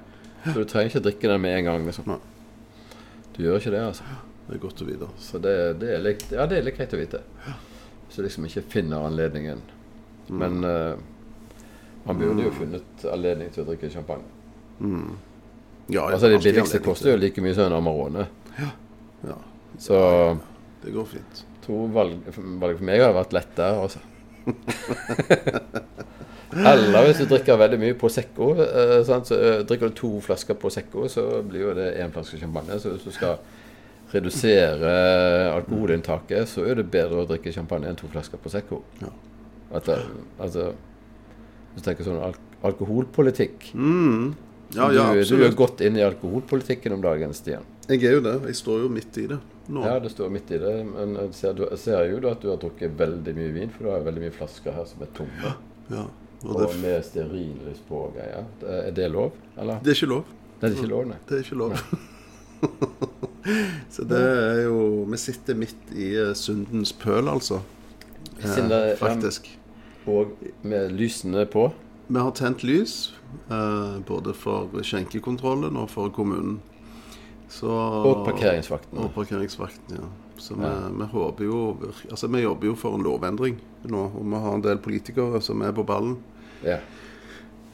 Speaker 4: Så du trenger ikke drikke den med en gang. liksom.
Speaker 3: Nei.
Speaker 4: Du gjør ikke det, altså.
Speaker 3: Det er godt å vite.
Speaker 4: Så det, det, er, litt, ja, det er litt greit å vite. Hvis du liksom ikke finner anledningen.
Speaker 3: Mm.
Speaker 4: Men eh, man burde jo funnet anledning til å drikke champagne.
Speaker 3: Ja, jeg
Speaker 4: Altså,
Speaker 3: har
Speaker 4: Det
Speaker 3: alltid
Speaker 4: billigste
Speaker 3: anledning
Speaker 4: koster jo like mye som en Amarone.
Speaker 3: til- Ja,
Speaker 4: Så
Speaker 3: det går fint.
Speaker 4: to valg, valg for meg har vært lettere, altså. Eller hvis du drikker veldig mye Prosecco, eh, sant? så eh, drikker du to flasker Prosecco, så blir jo det én flaske champagne. Så hvis du skal redusere alkoholinntaket, så er det bedre å drikke champagne enn to flasker Prosecco.
Speaker 3: Ja.
Speaker 4: At det, altså, hvis du tenker sånn al alkoholpolitikk
Speaker 3: Mm, Ja, ja,
Speaker 4: du, du er
Speaker 3: absolutt.
Speaker 4: godt inn i alkoholpolitikken om dagen, Stian.
Speaker 3: Jeg er jo det. Jeg står jo midt i det nå.
Speaker 4: Ja, det står midt i det, men jeg ser, du, jeg ser jo da at du har drukket veldig mye vin, for du har veldig mye flasker her som er tomme,
Speaker 3: Ja. Og
Speaker 4: og
Speaker 3: det,
Speaker 4: med stearinlys på og greier. Det- Er det lov, eller?
Speaker 3: det er ikke lov.
Speaker 4: Det er ikke lov, nei.
Speaker 3: Det er ikke lov. Så det er jo Vi sitter midt i eh, syndens pøl, altså. Eh,
Speaker 4: Siden det-
Speaker 3: faktisk.
Speaker 4: Og med lysene på.
Speaker 3: Vi har tent lys, eh, både for skjenkekontrollen og for kommunen. Så,
Speaker 4: Og parkeringsvaktene.
Speaker 3: Og parkeringsvakten, ja. Så vi, vi håper jo virk- Altså, vi jobber jo for en lovendring nå, og vi har en del politikere som er på ballen.
Speaker 4: Ja.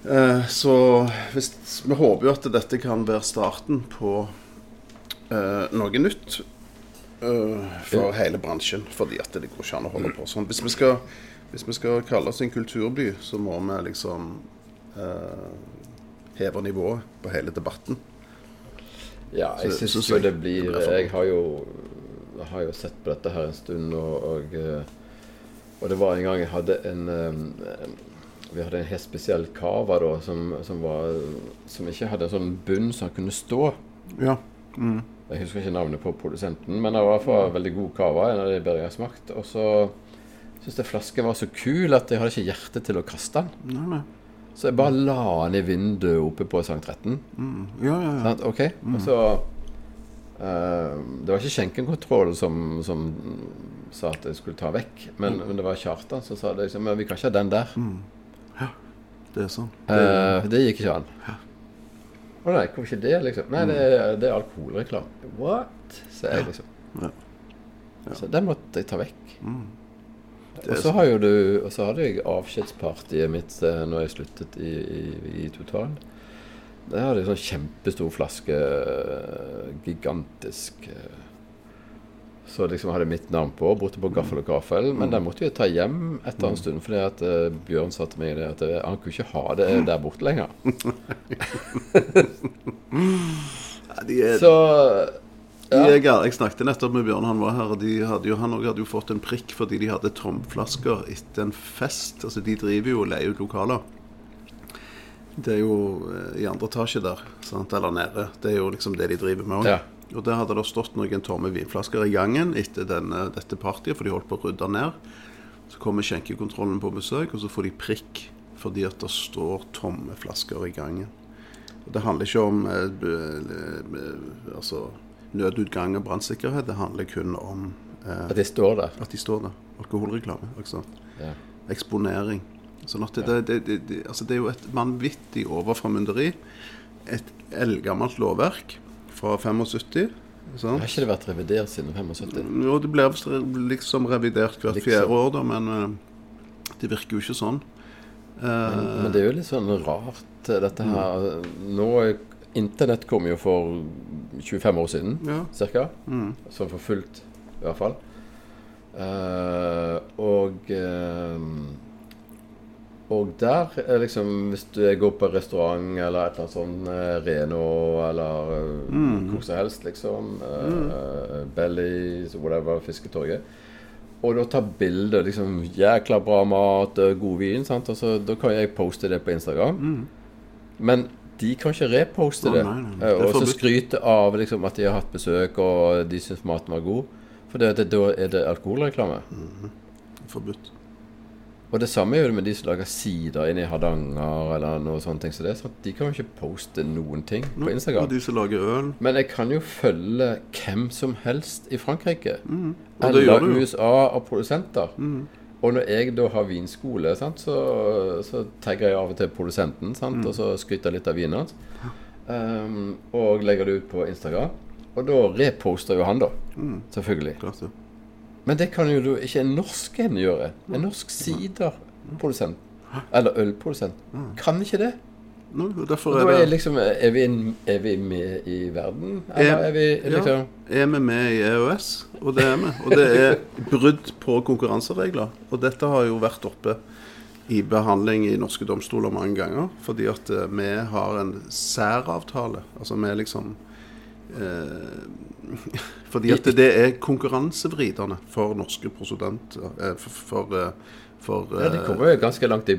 Speaker 3: Eh, så hvis, vi håper jo at dette kan være starten på eh, noe nytt eh, for hele bransjen. Fordi at det går ikke an å holde på sånn. Hvis vi skal, hvis vi skal kalle oss en kulturby, så må vi liksom eh, heve nivået på hele debatten.
Speaker 4: Ja, jeg
Speaker 3: Så-
Speaker 4: syns
Speaker 3: så-
Speaker 4: jo
Speaker 3: så-
Speaker 4: det blir
Speaker 3: det blir for-
Speaker 4: Jeg har jo, jeg har jo sett på dette her en stund, og, og, eh, og det var en gang jeg hadde en eh, en- Vi hadde en helt spesiell cava da, som, som, var, som ikke hadde en sånn bunn som kunne stå.
Speaker 3: Ja.
Speaker 4: Jeg husker ikke navnet på produsenten, men det var i hvert fall veldig god cava. En av de bedre jeg har smakt. Og så syntes jeg flasken var så kul at jeg hadde ikke hjerte til å kaste den.
Speaker 3: Nei, nei.
Speaker 4: Så jeg bare la den i vinduet oppe på Sankt 13.
Speaker 3: Mm. Ja, ja, ja.
Speaker 4: Sant? Ok,
Speaker 3: Mm.
Speaker 4: og så eh, Det var ikke skjenkekontrollen som, som sa at jeg skulle ta vekk, men,
Speaker 3: Mm.
Speaker 4: men det var Kjartan som sa det. Liksom, men vi kan ikke ha den der.
Speaker 3: Det er sånn.
Speaker 4: Eh, det gikk ikke an. Å nei, hvorfor ikke det, liksom? Nei, det, er- det er alkoholreklame. What? Så jeg, liksom.
Speaker 3: Mm. Ja. Mm.
Speaker 4: Så den måtte jeg ta vekk.
Speaker 3: Det
Speaker 4: Og
Speaker 3: er
Speaker 4: så
Speaker 3: sånn.
Speaker 4: har jo du Og så hadde jeg avskjedspartiet mitt eh, når jeg sluttet i, i, i Total. Der hadde jeg sånn kjempestor flaske. eh, Gigantisk. eh, Så liksom hadde jeg mitt navn på, borte
Speaker 3: Mm.
Speaker 4: på gaffel og gaffel. Men den måtte jeg ta hjem etter en stund, fordi at eh, Bjørn sa til meg det at eh, han kunne ikke ha det der borte lenger.
Speaker 3: Ja, de er,
Speaker 4: Så
Speaker 3: de er, gal- eh, jeg snakket nettopp med Bjørn, han var her, og de hadde jo, han også hadde jo fått en prikk fordi de hadde tomflasker etter en fest. Altså, de driver jo og leier ut lokaler. Det er jo eh, i andre etasje der, sant? eller nede. Det er jo liksom det de driver med òg.
Speaker 4: Ja.
Speaker 3: Og der hadde det stått noen tomme vinflasker i gangen etter denne, dette partiet, for de holdt på å rydde ned. Så kommer skjenkekontrollen på besøk, og så får de prikk fordi at det står tomme flasker i gangen. Og det handler ikke om eh, b- eh, altså, nødutgang og brannsikkerhet, det handler kun om eh,
Speaker 4: at de står der.
Speaker 3: at de står der. Alkoholreklame. ikke sant?
Speaker 4: Ja.
Speaker 3: eksponering. Sånn at det, det, det, det, altså det er jo et vanvittig overformynderi. Et eldgammelt lovverk. fra 75.
Speaker 4: Har
Speaker 3: Sant?
Speaker 4: ikke det vært revidert siden 75?
Speaker 3: Jo, det blir visst re- liksom revidert hvert
Speaker 4: Liksom.
Speaker 3: fjerde år, da, men eh, det virker jo ikke sånn. Eh,
Speaker 4: Men det er jo litt sånn rart, eh, dette her. Nå er- Internett kom jo for 25 år siden,
Speaker 3: Ja.
Speaker 4: cirka. Sånn for fullt, i hvert fall. Eh, og eh, Og der er liksom Hvis du går på restaurant eller et eller annet sånn eh, Reno eller eh,
Speaker 3: Mm.
Speaker 4: hvor som helst, liksom. eh, Belly, så whatever, Fisketorget. Og da ta bilder. liksom, Jækla bra mat, eh, god vin. sant? Og så, da kan jeg poste det på Instagram. Men de kan ikke reposte
Speaker 3: Mm. Å,
Speaker 4: det.
Speaker 3: nei, nei, nei.
Speaker 4: Eh,
Speaker 3: Det er
Speaker 4: Og så
Speaker 3: forbudt.
Speaker 4: skryte av liksom, at de har hatt besøk, og de syns maten var god. For det, det, da er det alkoholreklame.
Speaker 3: Forbudt.
Speaker 4: Og det samme gjør det med de som lager sider inne i Hardanger eller noe sånne ting. som det, sant? De kan jo ikke poste noen ting på Instagram.
Speaker 3: Og de som lager øl.
Speaker 4: Men jeg kan jo følge hvem som helst i Frankrike.
Speaker 3: Mm. Og det gjør du
Speaker 4: Eller
Speaker 3: jo. Mm.
Speaker 4: USA og produsenter. Og når jeg da har vinskole, sant, så, så tagger jeg av og til produsenten sant,
Speaker 3: Mm.
Speaker 4: og så skryter jeg litt av vinen hans. Um, og legger det ut på Instagram. Og da reposter jo han, da.
Speaker 3: Mm.
Speaker 4: Selvfølgelig.
Speaker 3: Klart det.
Speaker 4: Men det kan jo du- ikke en norsk en gjøre. En norsk siderprodusent. Eller ølprodusent. Kan ikke det.
Speaker 3: Nå, og derfor
Speaker 4: Og
Speaker 3: er
Speaker 4: da er
Speaker 3: det Eh,
Speaker 4: liksom Er vi, er vi med i verden? Eller er vi liksom
Speaker 3: ja, Eh, er vi med i EØS, og det er vi. Og det er brudd på konkurranseregler. Og dette har jo vært oppe i behandling i norske domstoler mange ganger. Fordi at eh, vi har en særavtale. Altså vi er liksom eh, Fordi at det er konkurransevridende for norske prosudenter. Eh, for for, eh, for
Speaker 4: Ja, de
Speaker 3: eh,
Speaker 4: kommer jo ganske langt i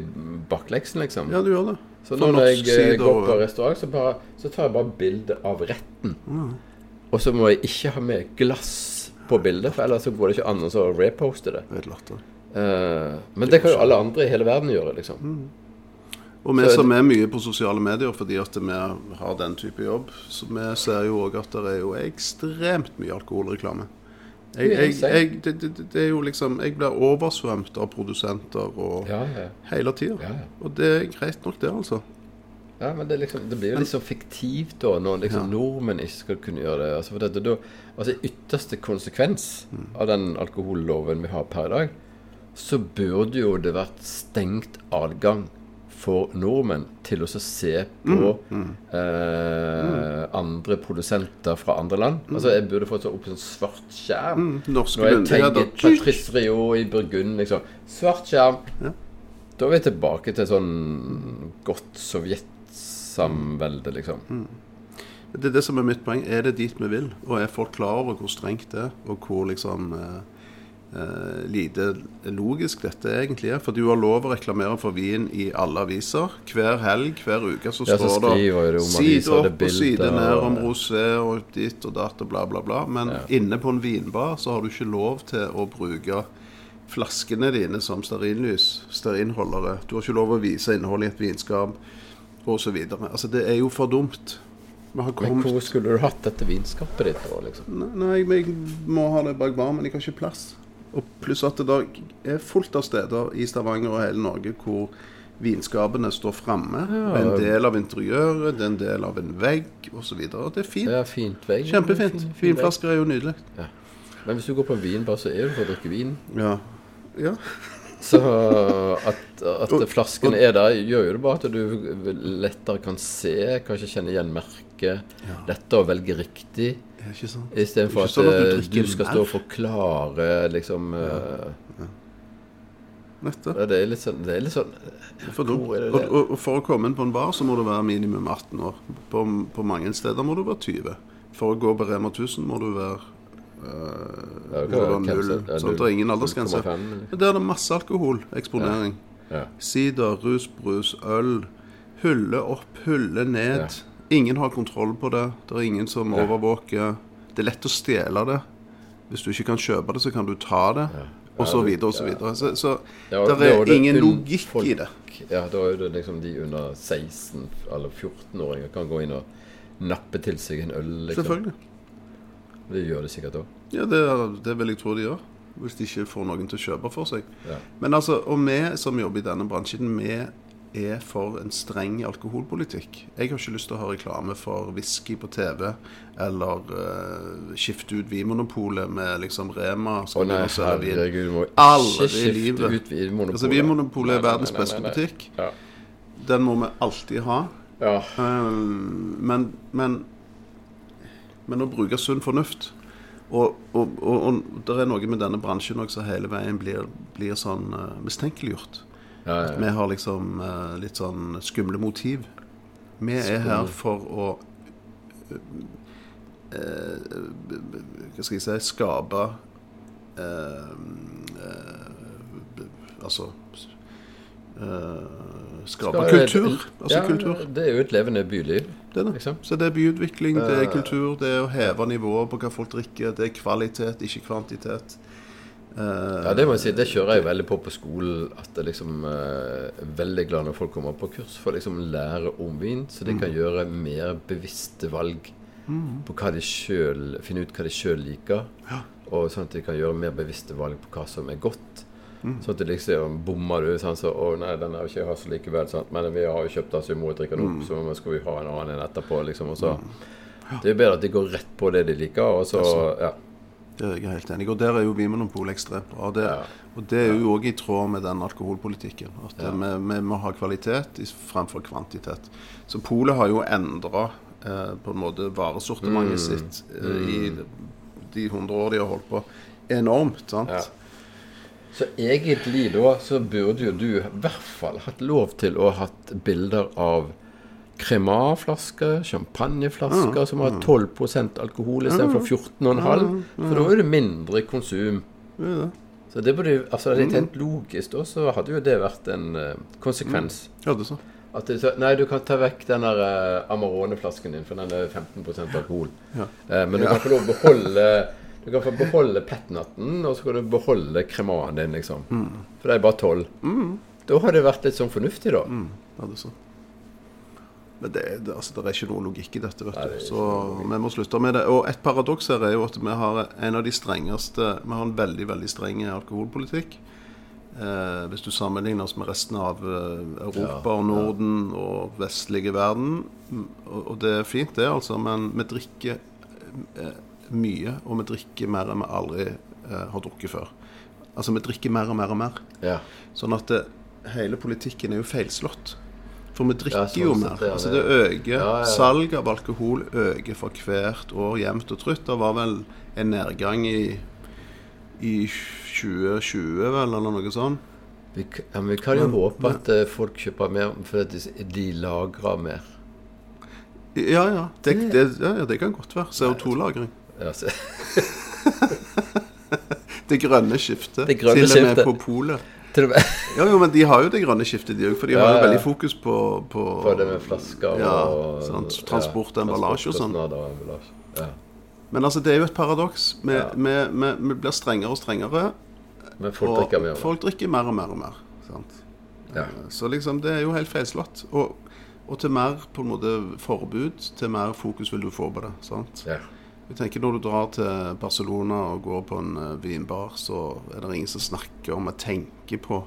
Speaker 4: bakleksen, liksom.
Speaker 3: ja, du gjør det.
Speaker 4: så
Speaker 3: For
Speaker 4: nå når
Speaker 3: norsk
Speaker 4: jeg eh,
Speaker 3: side
Speaker 4: går
Speaker 3: og-
Speaker 4: på restaurant, så, bare, så tar jeg bare bilde av retten.
Speaker 3: Mm.
Speaker 4: Og så må jeg ikke ha med glass på bildet, for ellers så går det ikke an å så reposte det.
Speaker 3: Det er et latter.
Speaker 4: Eh, men det kan jo alle andre i hele verden gjøre, liksom.
Speaker 3: Mm. Og vi
Speaker 4: Så-
Speaker 3: som er mye på sosiale medier fordi at vi har den type jobb, så vi ser jo òg at det er jo ekstremt mye alkoholreklame. Jeg,
Speaker 4: Ja,
Speaker 3: jeg,
Speaker 4: sant.
Speaker 3: jeg, det, det, det er jo liksom Jeg blir oversvømt av produsenter og
Speaker 4: Ja, ja.
Speaker 3: hele tida.
Speaker 4: Ja, ja.
Speaker 3: Og det er greit nok, det, altså.
Speaker 4: Ja, men det, er liksom, det blir jo litt så fiktivt da, når liksom nordmenn ikke skal kunne gjøre det. Altså, for dette, da, altså i ytterste konsekvens av den alkoholloven vi har per i dag, så burde jo det vært stengt adgang for nordmenn til å så se på Eh, andre produsenter fra andre land. Altså, jeg burde fått så opp en svart skjerm.
Speaker 3: Norske
Speaker 4: Når jeg
Speaker 3: myndigheter
Speaker 4: tenker Patrice Rio i Burgund, liksom. Svart skjerm.
Speaker 3: Ja.
Speaker 4: Da er vi tilbake til sånn godt sovjetsamvelde, liksom.
Speaker 3: Mm, Det er det som er mitt poeng. Er det dit vi vil? Og er folk klar over hvor strengt det er, og hvor liksom eh, eh, lite logisk dette egentlig er? For du har lov å reklamere for vin i alle aviser. Hver helg, hver uke så
Speaker 4: Ja,
Speaker 3: står
Speaker 4: så skriver det
Speaker 3: det
Speaker 4: om aviser,
Speaker 3: side
Speaker 4: det
Speaker 3: opp
Speaker 4: er
Speaker 3: og side
Speaker 4: bilder,
Speaker 3: ned om
Speaker 4: og-
Speaker 3: rosé og ditt og datt og bla, bla, bla. Men inne på en vinbar så har du ikke lov til å bruke flaskene dine som stearinlys, stearinholdere. Du har ikke lov å vise innholdet i et vinskap osv. Altså, det er jo for dumt. Vi har
Speaker 4: Men
Speaker 3: kommet
Speaker 4: hvor skulle du hatt dette vinskapet ditt da, liksom?
Speaker 3: Nei, Nei, jeg, jeg må ha det bak barmen. Jeg har ikke plass. Og pluss at det da er fullt av steder i Stavanger og hele Norge hvor vinskapene står framme. Det er En del av interiøret, det er en del av en vegg osv. Det er fint.
Speaker 4: Ja, fint vegg.
Speaker 3: Kjempefint.
Speaker 4: fin vegg.
Speaker 3: Vinflasker er jo nydelig.
Speaker 4: Men hvis du går på en vinbar, så er du for å drikke vin.
Speaker 3: Ja. ja.
Speaker 4: Så at, at flaskene er der, gjør jo det bare at du lettere kan se, kanskje kjenne igjen merket. Lettere å velge riktig.
Speaker 3: Det er ikke sant.
Speaker 4: Istedenfor
Speaker 3: Ikke
Speaker 4: at
Speaker 3: sånn at du
Speaker 4: eh,
Speaker 3: drikker
Speaker 4: du skal
Speaker 3: mer.
Speaker 4: stå og forklare liksom eh,
Speaker 3: Nettopp.
Speaker 4: ja, Det er litt sånn, det er litt sånn
Speaker 3: For dumt.
Speaker 4: Hvor er det
Speaker 3: Og,
Speaker 4: det?
Speaker 3: og, og for å komme inn på en bar så må du være minimum 18 år. På, på mange steder må du være 20. For å gå på Rema 1000 må du være øh, må
Speaker 4: Ja, det
Speaker 3: du
Speaker 4: kan
Speaker 3: være
Speaker 4: være
Speaker 3: null.
Speaker 4: grense. Ja,
Speaker 3: sant?
Speaker 4: null.
Speaker 3: Det er ingen aldersgrense.
Speaker 4: 0,5 eller?
Speaker 3: Men der er det masse alkoholeksponering.
Speaker 4: Ja.
Speaker 3: Sider, rusbrus, øl. Hylle opp, hylle ned. Ingen har kontroll på det. Det er ingen som overvåker. Det er lett å stjele det. Hvis du ikke kan kjøpe det, så kan du ta det. Og så videre og så videre. Så, så
Speaker 4: Ja, og
Speaker 3: det
Speaker 4: da
Speaker 3: er
Speaker 4: det
Speaker 3: ingen
Speaker 4: unn-
Speaker 3: logikk
Speaker 4: folk-
Speaker 3: i det.
Speaker 4: Ja, da er det liksom de under 16 eller 14-åringer kan gå inn og nappe til seg en øl. Liksom.
Speaker 3: Selvfølgelig.
Speaker 4: Det gjør de sikkert òg.
Speaker 3: Ja, det, er- det vil jeg tro de gjør. Hvis de ikke får noen til å kjøpe for seg.
Speaker 4: Ja.
Speaker 3: Men altså, og vi som jobber i denne bransjen, vi er for en streng alkoholpolitikk. Jeg har ikke lyst til å ha reklame for whisky på TV, eller eh, skifte ut Vinmonopolet med liksom Rema.
Speaker 4: Å
Speaker 3: skal
Speaker 4: nei,
Speaker 3: begynne å selge vin.
Speaker 4: herregud, må
Speaker 3: Aldri
Speaker 4: ikke
Speaker 3: i
Speaker 4: skifte
Speaker 3: livet.
Speaker 4: ut Vinmonopolet.
Speaker 3: Altså, Vinmonopolet er
Speaker 4: Nei, nei,
Speaker 3: verdens
Speaker 4: nei, nei,
Speaker 3: beste
Speaker 4: nei.
Speaker 3: butikk.
Speaker 4: Ja.
Speaker 3: Den må vi alltid ha.
Speaker 4: ja.
Speaker 3: Um, men, men Men å bruke sunn fornuft Og, og, og, og det er noe med denne bransjen også, som hele veien blir, blir sånn eh, mistenkeliggjort.
Speaker 4: Ja, ja,
Speaker 3: At vi har liksom eh, litt sånn skumle motiv. Vi er her for å eh, eh, Hva skal jeg si Skape eh, eh, Altså eh, Skape
Speaker 4: Skal-
Speaker 3: kultur. Altså
Speaker 4: ja,
Speaker 3: kultur.
Speaker 4: Det er jo et levende byliv.
Speaker 3: Det er det.
Speaker 4: Liksom.
Speaker 3: Så det er byutvikling, det er kultur, det er å heve nivået på hva folk drikker, det er kvalitet, ikke kvantitet.
Speaker 4: Ja, det må jeg si, det kjører jeg veldig på på skolen. At jeg liksom eh, er veldig glad når folk kommer på kurs for å liksom lære om vin, så de kan gjøre mer bevisste valg på hva de selv, finne ut hva de sjøl liker. Og sånn at de kan gjøre mer bevisste valg på hva som er godt. Sånn at de liksom bommer du sånn så, 'Å nei, den har ikke jeg har så likevel.' Sant? Men vi har jo kjøpt den, så vi må jo drikke den opp. Så må- skal vi ha en annen en etterpå, liksom. Og så. Det er jo bedre at de går rett på det de liker, og så Ja.
Speaker 3: Det er jeg helt enig i. Og der er jo Vinmonopolet ekstremt bra. Det,
Speaker 4: Ja.
Speaker 3: Og det er jo òg i tråd med den alkoholpolitikken. At eh, vi, vi må ha kvalitet i- fremfor kvantitet. Så polet har jo endra eh, på en måte
Speaker 4: Mm.
Speaker 3: varesortimentet sitt eh, i de hundre år de har holdt på. Enormt, sant?
Speaker 4: Ja. Så egentlig da, så burde jo du i hvert fall hatt lov til å ha hatt bilder av Cremant-flasker, champagneflasker som har 12 alkohol istedenfor 14,5. For da er det mindre konsum. Så Mm. det burde jo, altså hadde jeg tenkt logisk da, så hadde jo det vært en eh, konsekvens.
Speaker 3: Ja, det er sånn.
Speaker 4: At du, sa, nei, du kan ta vekk den der eh, Amarone-flasken din, for den er 15 alkohol. Eh, men du kan få lov å beholde Du kan få beholde petnatten, og så kan du beholde kremaen din, liksom.
Speaker 3: Mm.
Speaker 4: For det er bare 12. Da har det vært litt sånn fornuftig, da.
Speaker 3: Ja, det er sånn. Men det, er- det, altså, det er ikke noe logikk i dette, vet
Speaker 4: Nei,
Speaker 3: du.
Speaker 4: det er ikke
Speaker 3: Så vi må slutte med det. Og et paradoks her er jo at vi har en av de strengeste Vi har en veldig, veldig streng alkoholpolitikk. Eh, hvis du sammenligner oss med resten av eh, Europa og Norden og vestlige verden. Mm, Og, og det er fint, det, altså, men vi drikker eh, mye, og vi drikker mer enn vi aldri eh, har drukket før. Altså, vi drikker mer og mer og mer.
Speaker 4: Ja.
Speaker 3: Sånn at det, hele politikken er jo feilslått. For vi drikker
Speaker 4: Ja, sånn
Speaker 3: jo
Speaker 4: sett,
Speaker 3: mer.
Speaker 4: ja, det-
Speaker 3: altså det øker.
Speaker 4: Ja, ja, ja.
Speaker 3: Salg av alkohol øker for hvert år jevnt og trutt. Det var vel en nedgang i, i 2020, vel, eller noe sånt.
Speaker 4: Vi, k- ja, men vi kan
Speaker 3: Mm.
Speaker 4: jo håpe at eh, folk kjøper mer fordi de, de lagrer mer.
Speaker 3: Ja, ja. Det, det, ja, ja, det kan godt være. CO2-lagring.
Speaker 4: Ja, altså, så,
Speaker 3: Det grønne skiftet.
Speaker 4: Det grønne
Speaker 3: til og med
Speaker 4: skiftet.
Speaker 3: på polet.
Speaker 4: til og med
Speaker 3: Ja, jo, men de har jo det grønne skiftet, de òg. For de har
Speaker 4: Ja,
Speaker 3: jo
Speaker 4: ja, ja.
Speaker 3: veldig fokus på, på
Speaker 4: For det med flasker
Speaker 3: Ja,
Speaker 4: og
Speaker 3: sant. Transport og
Speaker 4: ja,
Speaker 3: emballasje og sånn.
Speaker 4: transportkostnader og emballasje. Ja.
Speaker 3: Men altså, det er jo et paradoks. Vi,
Speaker 4: Ja.
Speaker 3: vi, vi, vi blir strengere og strengere.
Speaker 4: Men folk drikker mer.
Speaker 3: Og
Speaker 4: da.
Speaker 3: folk drikker mer og mer og mer. Sant?
Speaker 4: Ja.
Speaker 3: Så liksom, det er jo helt feilslått. Og, og til mer på en måte forbud, til mer fokus vil du få på det. sant?
Speaker 4: Ja.
Speaker 3: Jeg tenker Når du drar til Barcelona og går på en eh, vinbar, så er det ingen som snakker om å tenke på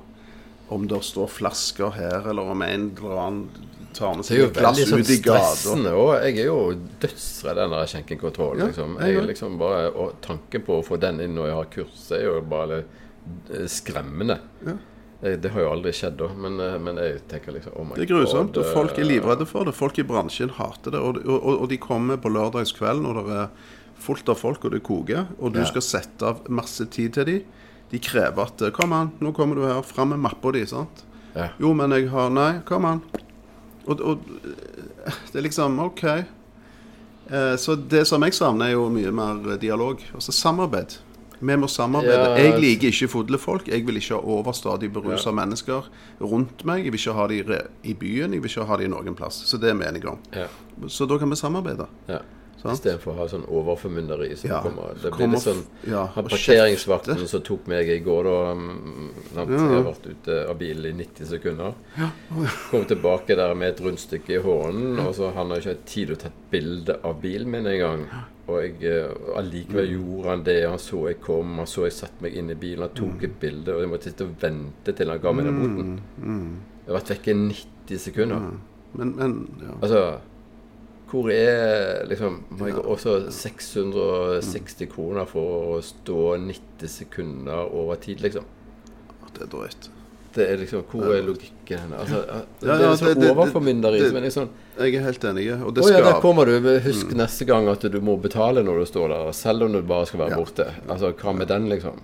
Speaker 3: om det står flasker her, eller om en eller annen tar med
Speaker 4: Det er
Speaker 3: seg
Speaker 4: jo
Speaker 3: et glass
Speaker 4: veldig sånn
Speaker 3: ut i gata.
Speaker 4: stressende òg. Jeg er jo dødsredd den der skjenkekontrollen.
Speaker 3: Ja,
Speaker 4: liksom.
Speaker 3: jeg
Speaker 4: Jeg
Speaker 3: òg.
Speaker 4: er liksom bare, og tanken på å få den inn når jeg har kurs, er jo bare eh, skremmende. Eh, Det har jo aldri skjedd da, men, eh, men jeg tenker liksom oh my
Speaker 3: Det er grusomt,
Speaker 4: God,
Speaker 3: og folk er
Speaker 4: eh,
Speaker 3: livredde for det. Folk i bransjen hater det. Og, og, og de kommer på lørdagskveld når det er fullt av folk og det koker, og du
Speaker 4: Ja.
Speaker 3: skal sette av masse tid til dem. De krever at 'Kom an, nå kommer du her. Fram med mappa di.' sant?
Speaker 4: eh, Ja.
Speaker 3: Jo, men jeg har Nei, kom an. Og, og det er liksom OK. Eh, Så det som jeg savner, er jo mye mer dialog. Altså samarbeid. Vi må samarbeide.
Speaker 4: Ja,
Speaker 3: jeg liker ikke fodlefolk. Jeg vil ikke ha overstadig berusa mennesker rundt meg. Jeg vil ikke ha de re- i byen, jeg vil ikke ha de noen plass. Så det er vi enige om.
Speaker 4: Ja.
Speaker 3: Så da kan vi samarbeide.
Speaker 4: Ja.
Speaker 3: Sant?
Speaker 4: Istedenfor å ha sånn overformynderi som
Speaker 3: Ja,
Speaker 4: kommer. Det blir
Speaker 3: kommer
Speaker 4: litt sånn
Speaker 3: f- ja,
Speaker 4: Han
Speaker 3: og
Speaker 4: parkeringsvakten som tok meg i går, da mm, sant? Jeg har vært ute av bilen i 90 sekunder. Kom tilbake der med et rundstykke i hånden, og så han har ikke hatt tid til å ta et bilde av bilen min engang. Og jeg, eh, allikevel gjorde han det. Han så jeg kom, han så jeg satte meg inn i
Speaker 3: Mm. Mm,
Speaker 4: bilen, han tok et bilde, og jeg måtte sitte og vente til han ga meg den boten. Jeg har vært vekke 90 90 sekunder.
Speaker 3: Men, men ja.
Speaker 4: Altså Hvor er liksom Må jeg også 660 kroner for å stå 90 sekunder over tid, liksom?
Speaker 3: Det er drøyt.
Speaker 4: Det er liksom, Hvor er logikken henne? Altså, det
Speaker 3: Ja,
Speaker 4: er
Speaker 3: ja,
Speaker 4: så
Speaker 3: det- det- det-
Speaker 4: overformynderisk.
Speaker 3: det-
Speaker 4: Men liksom
Speaker 3: Jeg er helt enig. Og
Speaker 4: Å
Speaker 3: det Mm.
Speaker 4: ja, der
Speaker 3: skaper
Speaker 4: kommer du. Husk neste gang at du må betale når du står der, selv om du bare skal være borte. Altså, Hva med den, liksom?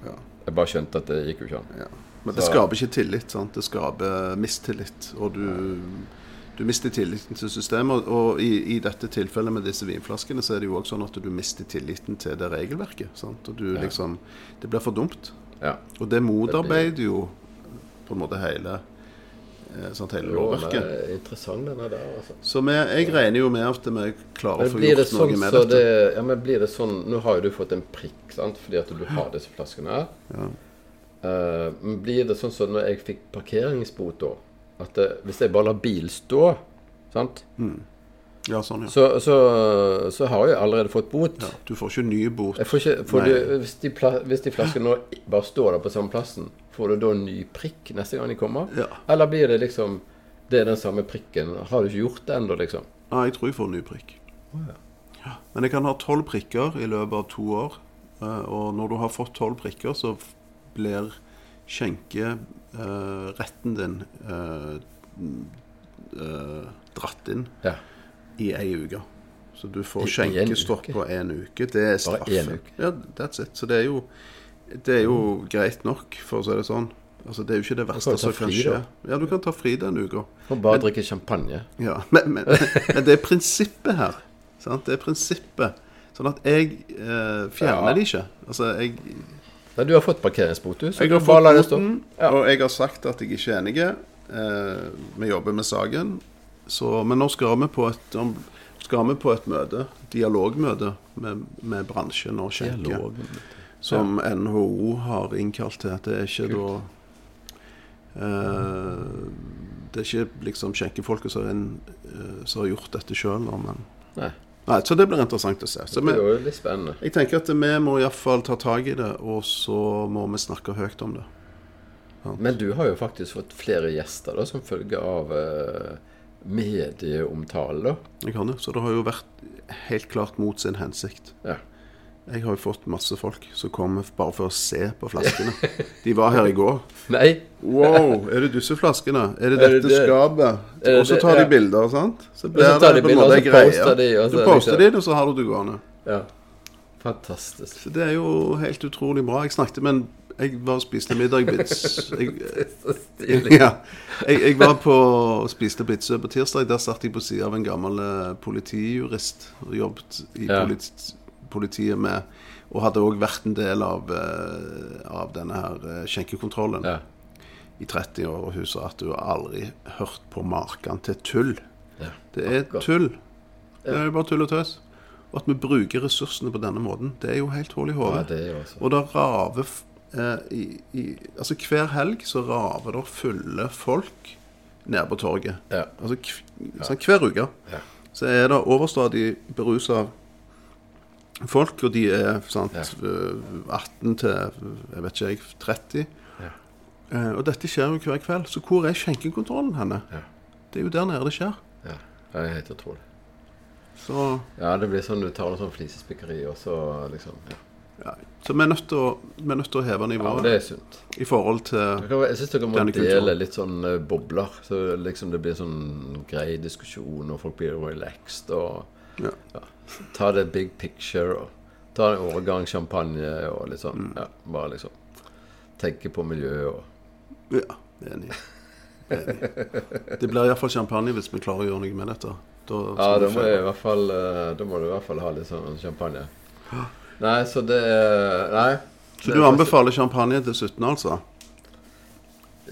Speaker 4: Jeg bare skjønte at det gikk jo ikke an.
Speaker 3: ja. Men det skaper ikke tillit. sant? Det skaper mistillit. Og du, du mister tilliten til systemet. Og i, i dette tilfellet med disse vinflaskene, så er det jo òg sånn at du mister tilliten til det regelverket. sant? Og du liksom Det blir for dumt.
Speaker 4: Ja.
Speaker 3: Og det motarbeider jo på en måte hele, eh, sant, hele
Speaker 4: Jo, men eh, det
Speaker 3: lovverket.
Speaker 4: er interessant, denne der, altså.
Speaker 3: Så vi, jeg regner jo med at vi klarer å
Speaker 4: Men
Speaker 3: få
Speaker 4: blir det
Speaker 3: gjort
Speaker 4: sånn
Speaker 3: noe med
Speaker 4: så
Speaker 3: dette.
Speaker 4: det, ja, men blir det sånn Nå har jo du fått en prikk, sant, fordi at du har disse flaskene her. Eh, men blir det sånn som når jeg fikk parkeringsbot, da? At eh, hvis jeg bare lar bil stå, sant,
Speaker 3: Ja, sånn, ja.
Speaker 4: så, så, så har jeg allerede fått bot.
Speaker 3: ja. Du får ikke ny bot.
Speaker 4: Jeg får ikke, får
Speaker 3: Nei.
Speaker 4: du, hvis, de pla, hvis de flaskene nå i- bare står der på samme plassen, får du da en ny prikk neste gang de kommer?
Speaker 3: Ja.
Speaker 4: Eller blir det liksom Det er den samme prikken. Har du ikke gjort det ennå, liksom?
Speaker 3: Ja, jeg tror jeg får en ny prikk. Ja. Men jeg kan ha tolv prikker i løpet av to år. eh, Og når du har fått tolv prikker, så f- blir skjenkeretten din eh, mm, eh, dratt inn
Speaker 4: Ja.
Speaker 3: i ei uke. Så du får
Speaker 4: I- i en
Speaker 3: skjenkestopp
Speaker 4: uke?
Speaker 3: på én uke. Det er
Speaker 4: Bare
Speaker 3: straffen.
Speaker 4: en uke?
Speaker 3: Ja, that's it. Så det er jo, det er jo greit nok, for å si det sånn. Altså, det er jo ikke det verste
Speaker 4: jo ta
Speaker 3: som kan
Speaker 4: fri,
Speaker 3: skje.
Speaker 4: da.
Speaker 3: Ja, du kan ta fri den uka.
Speaker 4: Og bare drikke champagne.
Speaker 3: Ja, men, men, men det er prinsippet her. Sant? Det er prinsippet. Sånn at jeg eh, fjerner
Speaker 4: Ja.
Speaker 3: det ikke. Altså, jeg,
Speaker 4: Nei, du har fått parkeringsbot, du. Så
Speaker 3: jeg har
Speaker 4: du bare lar det
Speaker 3: fått
Speaker 4: stå.
Speaker 3: boten, og jeg har sagt at jeg ikke er enig. Eh, vi jobber med saken. Så, men nå skal vi på et, om- skal vi på et møte, dialogmøte, med, med bransjen og skjenke.
Speaker 4: Dialog.
Speaker 3: Som NHO har innkalt til. Det er ikke da eh, Det er ikke liksom skjenkefolket som, er en- eh, som har gjort dette sjøl, men
Speaker 4: Nei.
Speaker 3: Nei, Så det blir interessant å se. Så
Speaker 4: Det
Speaker 3: vi,
Speaker 4: er jo litt spennende.
Speaker 3: jeg tenker at vi må iallfall ta tak i det, og så må vi snakke høyt om det.
Speaker 4: Men du har jo faktisk fått flere gjester da, som følge av eh, medieomtale, da.
Speaker 3: Jeg har det. Så det har jo vært helt klart mot sin hensikt.
Speaker 4: Ja.
Speaker 3: Jeg har jo fått masse folk som kommer bare for å se på flaskene. De var her i går.
Speaker 4: Nei,
Speaker 3: Wow, er det disse flaskene? Er det
Speaker 4: Er det
Speaker 3: dette
Speaker 4: det?
Speaker 3: skapet?
Speaker 4: Er det
Speaker 3: Og så
Speaker 4: det?
Speaker 3: tar de
Speaker 4: Ja.
Speaker 3: bilder, sant? Så blir
Speaker 4: så tar de
Speaker 3: det på en måte
Speaker 4: bilder, og så
Speaker 3: en greie.
Speaker 4: poster de, og så
Speaker 3: Du
Speaker 4: er det
Speaker 3: poster
Speaker 4: liksom-
Speaker 3: de, og så har du det gående.
Speaker 4: ja. Fantastisk.
Speaker 3: Så det er jo helt utrolig bra. Jeg snakket med en Jeg var og spiste middag Bitz. Jeg,
Speaker 4: Så stilig.
Speaker 3: ja. jeg, jeg var på og spiste Blitzø på tirsdag. Der satt jeg på siden av en gammel eh, politijurist og jobbet i
Speaker 4: Ja.
Speaker 3: polit, politiet med Og hadde òg vært en del av, eh, av denne her eh, skjenkekontrollen
Speaker 4: Ja.
Speaker 3: i 30 år, og hun sa at hun har aldri hørt på maken til tull.
Speaker 4: Ja.
Speaker 3: Det er
Speaker 4: Akkurat.
Speaker 3: tull. Det er jo bare tull og tøys. Og at vi bruker ressursene på denne måten, det er jo helt hull i hodet.
Speaker 4: Ja, det er jo altså-
Speaker 3: Og det raver f- eh, i, i, Altså hver helg så raver det fulle folk nede på torget.
Speaker 4: Ja.
Speaker 3: Altså kv, sånn, hver uke
Speaker 4: Ja.
Speaker 3: så er det overstadig berusa folk, og de er sant, eh, 18 til jeg vet ikke jeg, 30. Eh, og dette skjer jo hver kveld. Så hvor er skjenkekontrollen henne?
Speaker 4: Ja.
Speaker 3: Det er jo der nede det skjer.
Speaker 4: ja. Det er helt utrolig.
Speaker 3: Så
Speaker 4: Ja, det blir sånn du tar noe sånn flisespikkeri, og så liksom ja.
Speaker 3: ja. Så vi er nødt til å, vi er nødt til å heve
Speaker 4: ja, men
Speaker 3: nivået
Speaker 4: det er sunt.
Speaker 3: i forhold til
Speaker 4: Dere- Jeg syns dere må
Speaker 3: Denne kulturen.
Speaker 4: dele litt sånn eh, bobler, så liksom det blir sånn grei diskusjon, og folk blir relaxed, og
Speaker 3: ja.
Speaker 4: ta det big picture, og ta en årgang champagne, og litt sånn
Speaker 3: Mm.
Speaker 4: ja, Bare liksom tenke på miljøet og
Speaker 3: Ja, enig. enig. Det blir iallfall champagne hvis vi klarer å gjøre noe med dette. Da,
Speaker 4: Ja,
Speaker 3: skal vi
Speaker 4: da må,
Speaker 3: feire.
Speaker 4: jeg i hvert fall, eh, da må du i hvert fall ha litt sånn champagne. Nei, så det er- Nei.
Speaker 3: Så
Speaker 4: Det
Speaker 3: du
Speaker 4: er-
Speaker 3: anbefaler champagne til 17, altså?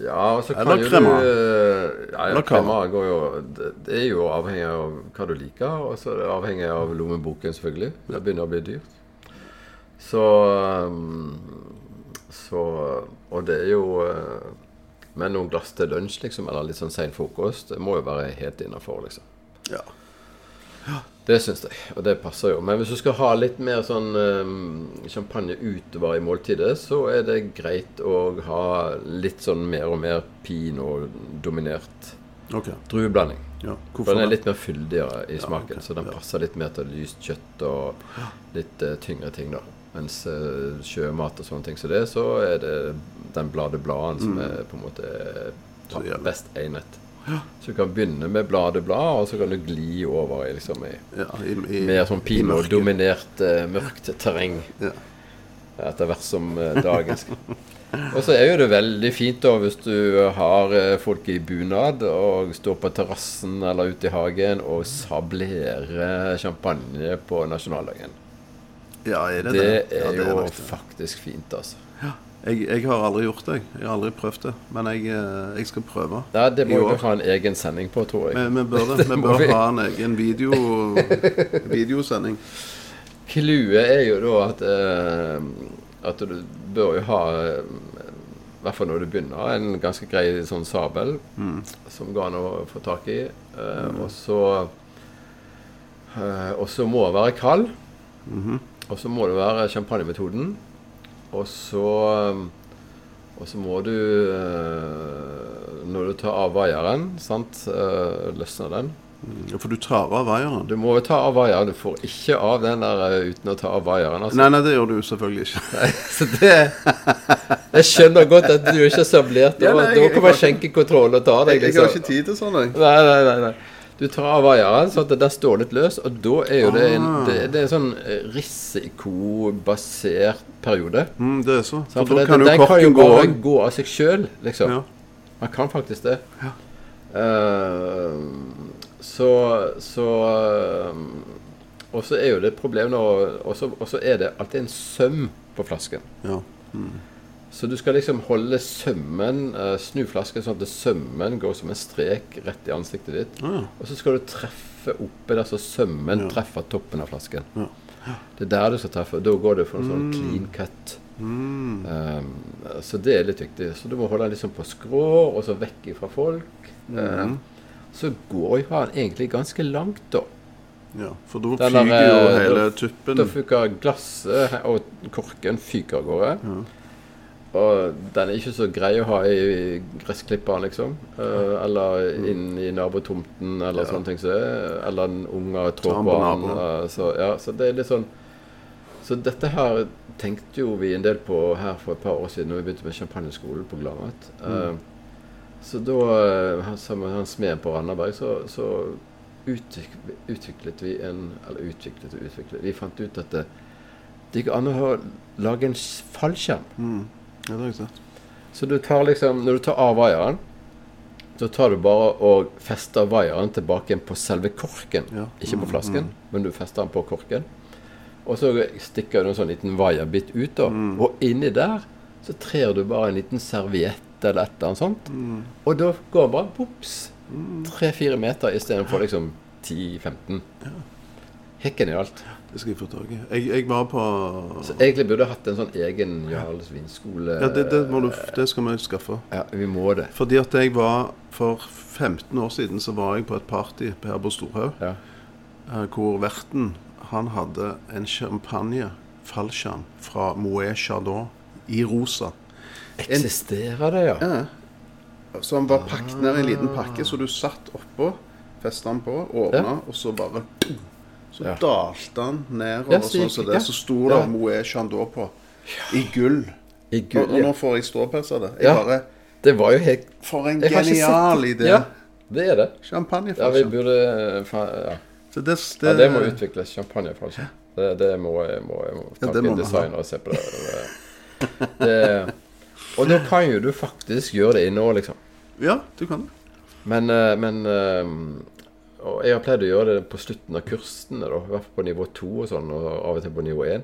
Speaker 4: Ja, og så kan
Speaker 3: Eller
Speaker 4: jo
Speaker 3: krema.
Speaker 4: du eh, Ja, ja
Speaker 3: Eller kava.
Speaker 4: krema går jo det, det er jo avhengig av hva du liker, og så er det avhengig av lommeboken, selvfølgelig. Det begynner å bli dyrt. Så um, Så Og det er jo eh, Men noen glass til lunsj, liksom, eller litt sånn sein frokost, det må jo være helt innafor, liksom.
Speaker 3: Ja.
Speaker 4: Det syns jeg, og det passer jo. Men hvis du skal ha litt mer sånn eh, champagne utover i måltidet, så er det greit å ha litt sånn mer og mer pinot-dominert
Speaker 3: OK.
Speaker 4: Drueblanding.
Speaker 3: Ja.
Speaker 4: For
Speaker 3: Hvorfor
Speaker 4: den er
Speaker 3: det?
Speaker 4: litt mer fyldigere i smaken,
Speaker 3: ok.
Speaker 4: så den
Speaker 3: Ja.
Speaker 4: passer litt mer til lyst kjøtt og litt eh, tyngre ting, da. Mens eh, sjømat og sånne ting som det, så er det den bladet bladen som er på en måte eh,
Speaker 3: Mm. Så det gjelder.
Speaker 4: best egnet. Så du kan begynne med bladet blad, og så kan du gli over i liksom i
Speaker 3: Ja, i, i,
Speaker 4: mer
Speaker 3: i mørket.
Speaker 4: sånn pinot-dominert eh, mørkt terreng
Speaker 3: Ja.
Speaker 4: etter hvert som eh, dagen skal Og så er jo det veldig fint da hvis du har eh, folk i bunad og står på terrassen eller ute i hagen og sablerer eh, champagne på nasjonaldagen.
Speaker 3: ja, er det det?
Speaker 4: Det
Speaker 3: ja,
Speaker 4: er
Speaker 3: det
Speaker 4: jo
Speaker 3: nok det.
Speaker 4: faktisk fint, altså.
Speaker 3: Jeg, jeg har aldri gjort det. jeg. Jeg har aldri prøvd det. Men jeg, eh, jeg skal prøve.
Speaker 4: Nei, det
Speaker 3: I
Speaker 4: må
Speaker 3: år.
Speaker 4: vi ha en egen sending på, tror
Speaker 3: Vi,
Speaker 4: jeg.
Speaker 3: vi bør det. Vi
Speaker 4: må
Speaker 3: bør
Speaker 4: vi.
Speaker 3: ha en egen video, videosending.
Speaker 4: Clouet er jo da at, eh, at du bør jo ha eh, I hvert fall når du begynner, en ganske grei sånn sabel som går an å få tak i. Eh, Og så eh, Og så må det være kald. Og så må det være champagnemetoden. Og så eh, Og så må du eh, Når du tar av vaieren, sant, eh, løsner den.
Speaker 3: Ja, For du tar av vaieren.
Speaker 4: Du må jo ta av vaieren. Du får ikke av den der eh, uten å ta av vaieren. Altså.
Speaker 3: Nei, nei, det gjør du selvfølgelig ikke.
Speaker 4: Så det Jeg skjønner godt at du ikke har sablert.
Speaker 3: Ja,
Speaker 4: Da
Speaker 3: nei,
Speaker 4: da
Speaker 3: jeg-
Speaker 4: kommer
Speaker 3: jeg har
Speaker 4: skjenkekontrollen og tar deg. liksom.
Speaker 3: Jeg har ikke tid til sånn, jeg.
Speaker 4: Nei, nei, nei, nei. Du tar av vaieren, sånn at den står litt løs, og da er jo det en,
Speaker 3: Ah.
Speaker 4: det, det er en sånn eh, risikobasert periode.
Speaker 3: Mm, det er så.
Speaker 4: sant?
Speaker 3: For
Speaker 4: For
Speaker 3: da
Speaker 4: det-
Speaker 3: kan jo
Speaker 4: den kan jo
Speaker 3: korken gå
Speaker 4: bare
Speaker 3: av.
Speaker 4: gå av seg sjøl, liksom.
Speaker 3: Ja.
Speaker 4: Man kan faktisk det.
Speaker 3: Ja.
Speaker 4: Eh, så så eh, Og så er jo det et problem nå Og så og så er det alltid en søm på flasken.
Speaker 3: Ja.
Speaker 4: Så du skal liksom holde sømmen, eh, snu flasken sånn at sømmen går som en strek rett i ansiktet ditt.
Speaker 3: Ah,
Speaker 4: Og så skal du treffe oppe der så sømmen
Speaker 3: Ja.
Speaker 4: treffer toppen av flasken.
Speaker 3: Ja.
Speaker 4: Det er der du skal treffe. Da går det for en sånn clean cut.
Speaker 3: Mm.
Speaker 4: Eh, så det er litt viktig. Så du må holde den liksom på skrå, og så vekk ifra folk.
Speaker 3: Mm.
Speaker 4: Eh, så går jo han egentlig ganske langt, da.
Speaker 3: ja. For da
Speaker 4: Den der,
Speaker 3: fyker jo
Speaker 4: eh,
Speaker 3: hele
Speaker 4: da-
Speaker 3: tuppen.
Speaker 4: Da fyker glasset og korken fyker av gårde. Og den er ikke så grei å ha i gressklipperen, liksom. Eh, eller inn i nabotomten, eller sånne ting som det. er. Eller en unge
Speaker 3: Ta
Speaker 4: trår
Speaker 3: den på
Speaker 4: på den.
Speaker 3: naboen.
Speaker 4: eh, Så, ja, så det er litt sånn Så dette her tenkte jo vi en del på her for et par år siden, når vi begynte med champagneskolen på Gladmat. Eh, Så da, eh, han- sammen med han smeden på Randaberg, så, så utviklet, utviklet vi en Eller utviklet og utviklet Vi fant ut at det, det gikk an å ha- lage en s- fallskjerm.
Speaker 3: Mm. Ja, det har jeg sett.
Speaker 4: Så du tar liksom Når du tar av vaieren, så tar du bare og fester vaieren tilbake igjen på selve korken.
Speaker 3: Ja.
Speaker 4: Ikke på flasken, men du fester den på korken. Og så stikker du en sånn liten vaierbit ut, da. Og inni der så trer du bare en liten serviett eller et eller annet sånt. Og da går den bare bops! Tre-fire meter istedenfor liksom 10-15. Helt genialt.
Speaker 3: Det skal jeg få tak i. Jeg, jeg var på
Speaker 4: Så egentlig burde jeg hatt en sånn egen Jarls vinskole.
Speaker 3: Ja, det, det, må du, det skal vi skaffe.
Speaker 4: Ja, vi må det.
Speaker 3: Fordi at jeg var For 15 år siden så var jeg på et party her på Storhaug
Speaker 4: Ja.
Speaker 3: eh, hvor verten han hadde en champagne, fallskjerm, fra Moët Chardon i rosa.
Speaker 4: Eksisterer det, ja?
Speaker 3: Ja. Så han var pakket ned i en liten
Speaker 4: Ah.
Speaker 3: pakke, så du satt oppå, festa den på, åpna, og så bare Så
Speaker 4: Ja.
Speaker 3: dalte han nedover
Speaker 4: Ja, så
Speaker 3: sånn
Speaker 4: gikk-
Speaker 3: som
Speaker 4: ja.
Speaker 3: det. Så sto det
Speaker 4: Ja.
Speaker 3: Moët Chandon på. I gull.
Speaker 4: I gull,
Speaker 3: og, og
Speaker 4: ja.
Speaker 3: nå får jeg ståpels av det. Jeg
Speaker 4: Ja.
Speaker 3: bare
Speaker 4: Det var jo helt
Speaker 3: For en
Speaker 4: Jeg har ikke
Speaker 3: genial
Speaker 4: sett
Speaker 3: idé.
Speaker 4: det. Ja, det er det. Ja, vi
Speaker 3: Champagneflasken.
Speaker 4: burde eh, fa ja.
Speaker 3: Så det, det,
Speaker 4: ja, det må utvikles champagne, kanskje. Det, det må jeg må, jeg må
Speaker 3: Ja,
Speaker 4: ta
Speaker 3: det må
Speaker 4: en
Speaker 3: vi ha.
Speaker 4: designer og se på det. det. Og nå kan jo du faktisk gjøre det inne òg, liksom.
Speaker 3: Ja, du kan det.
Speaker 4: Men, eh, men eh, Og jeg har pleid å gjøre det på slutten av kursene, da. I hvert fall på nivå to og sånn, og av og til på nivå én.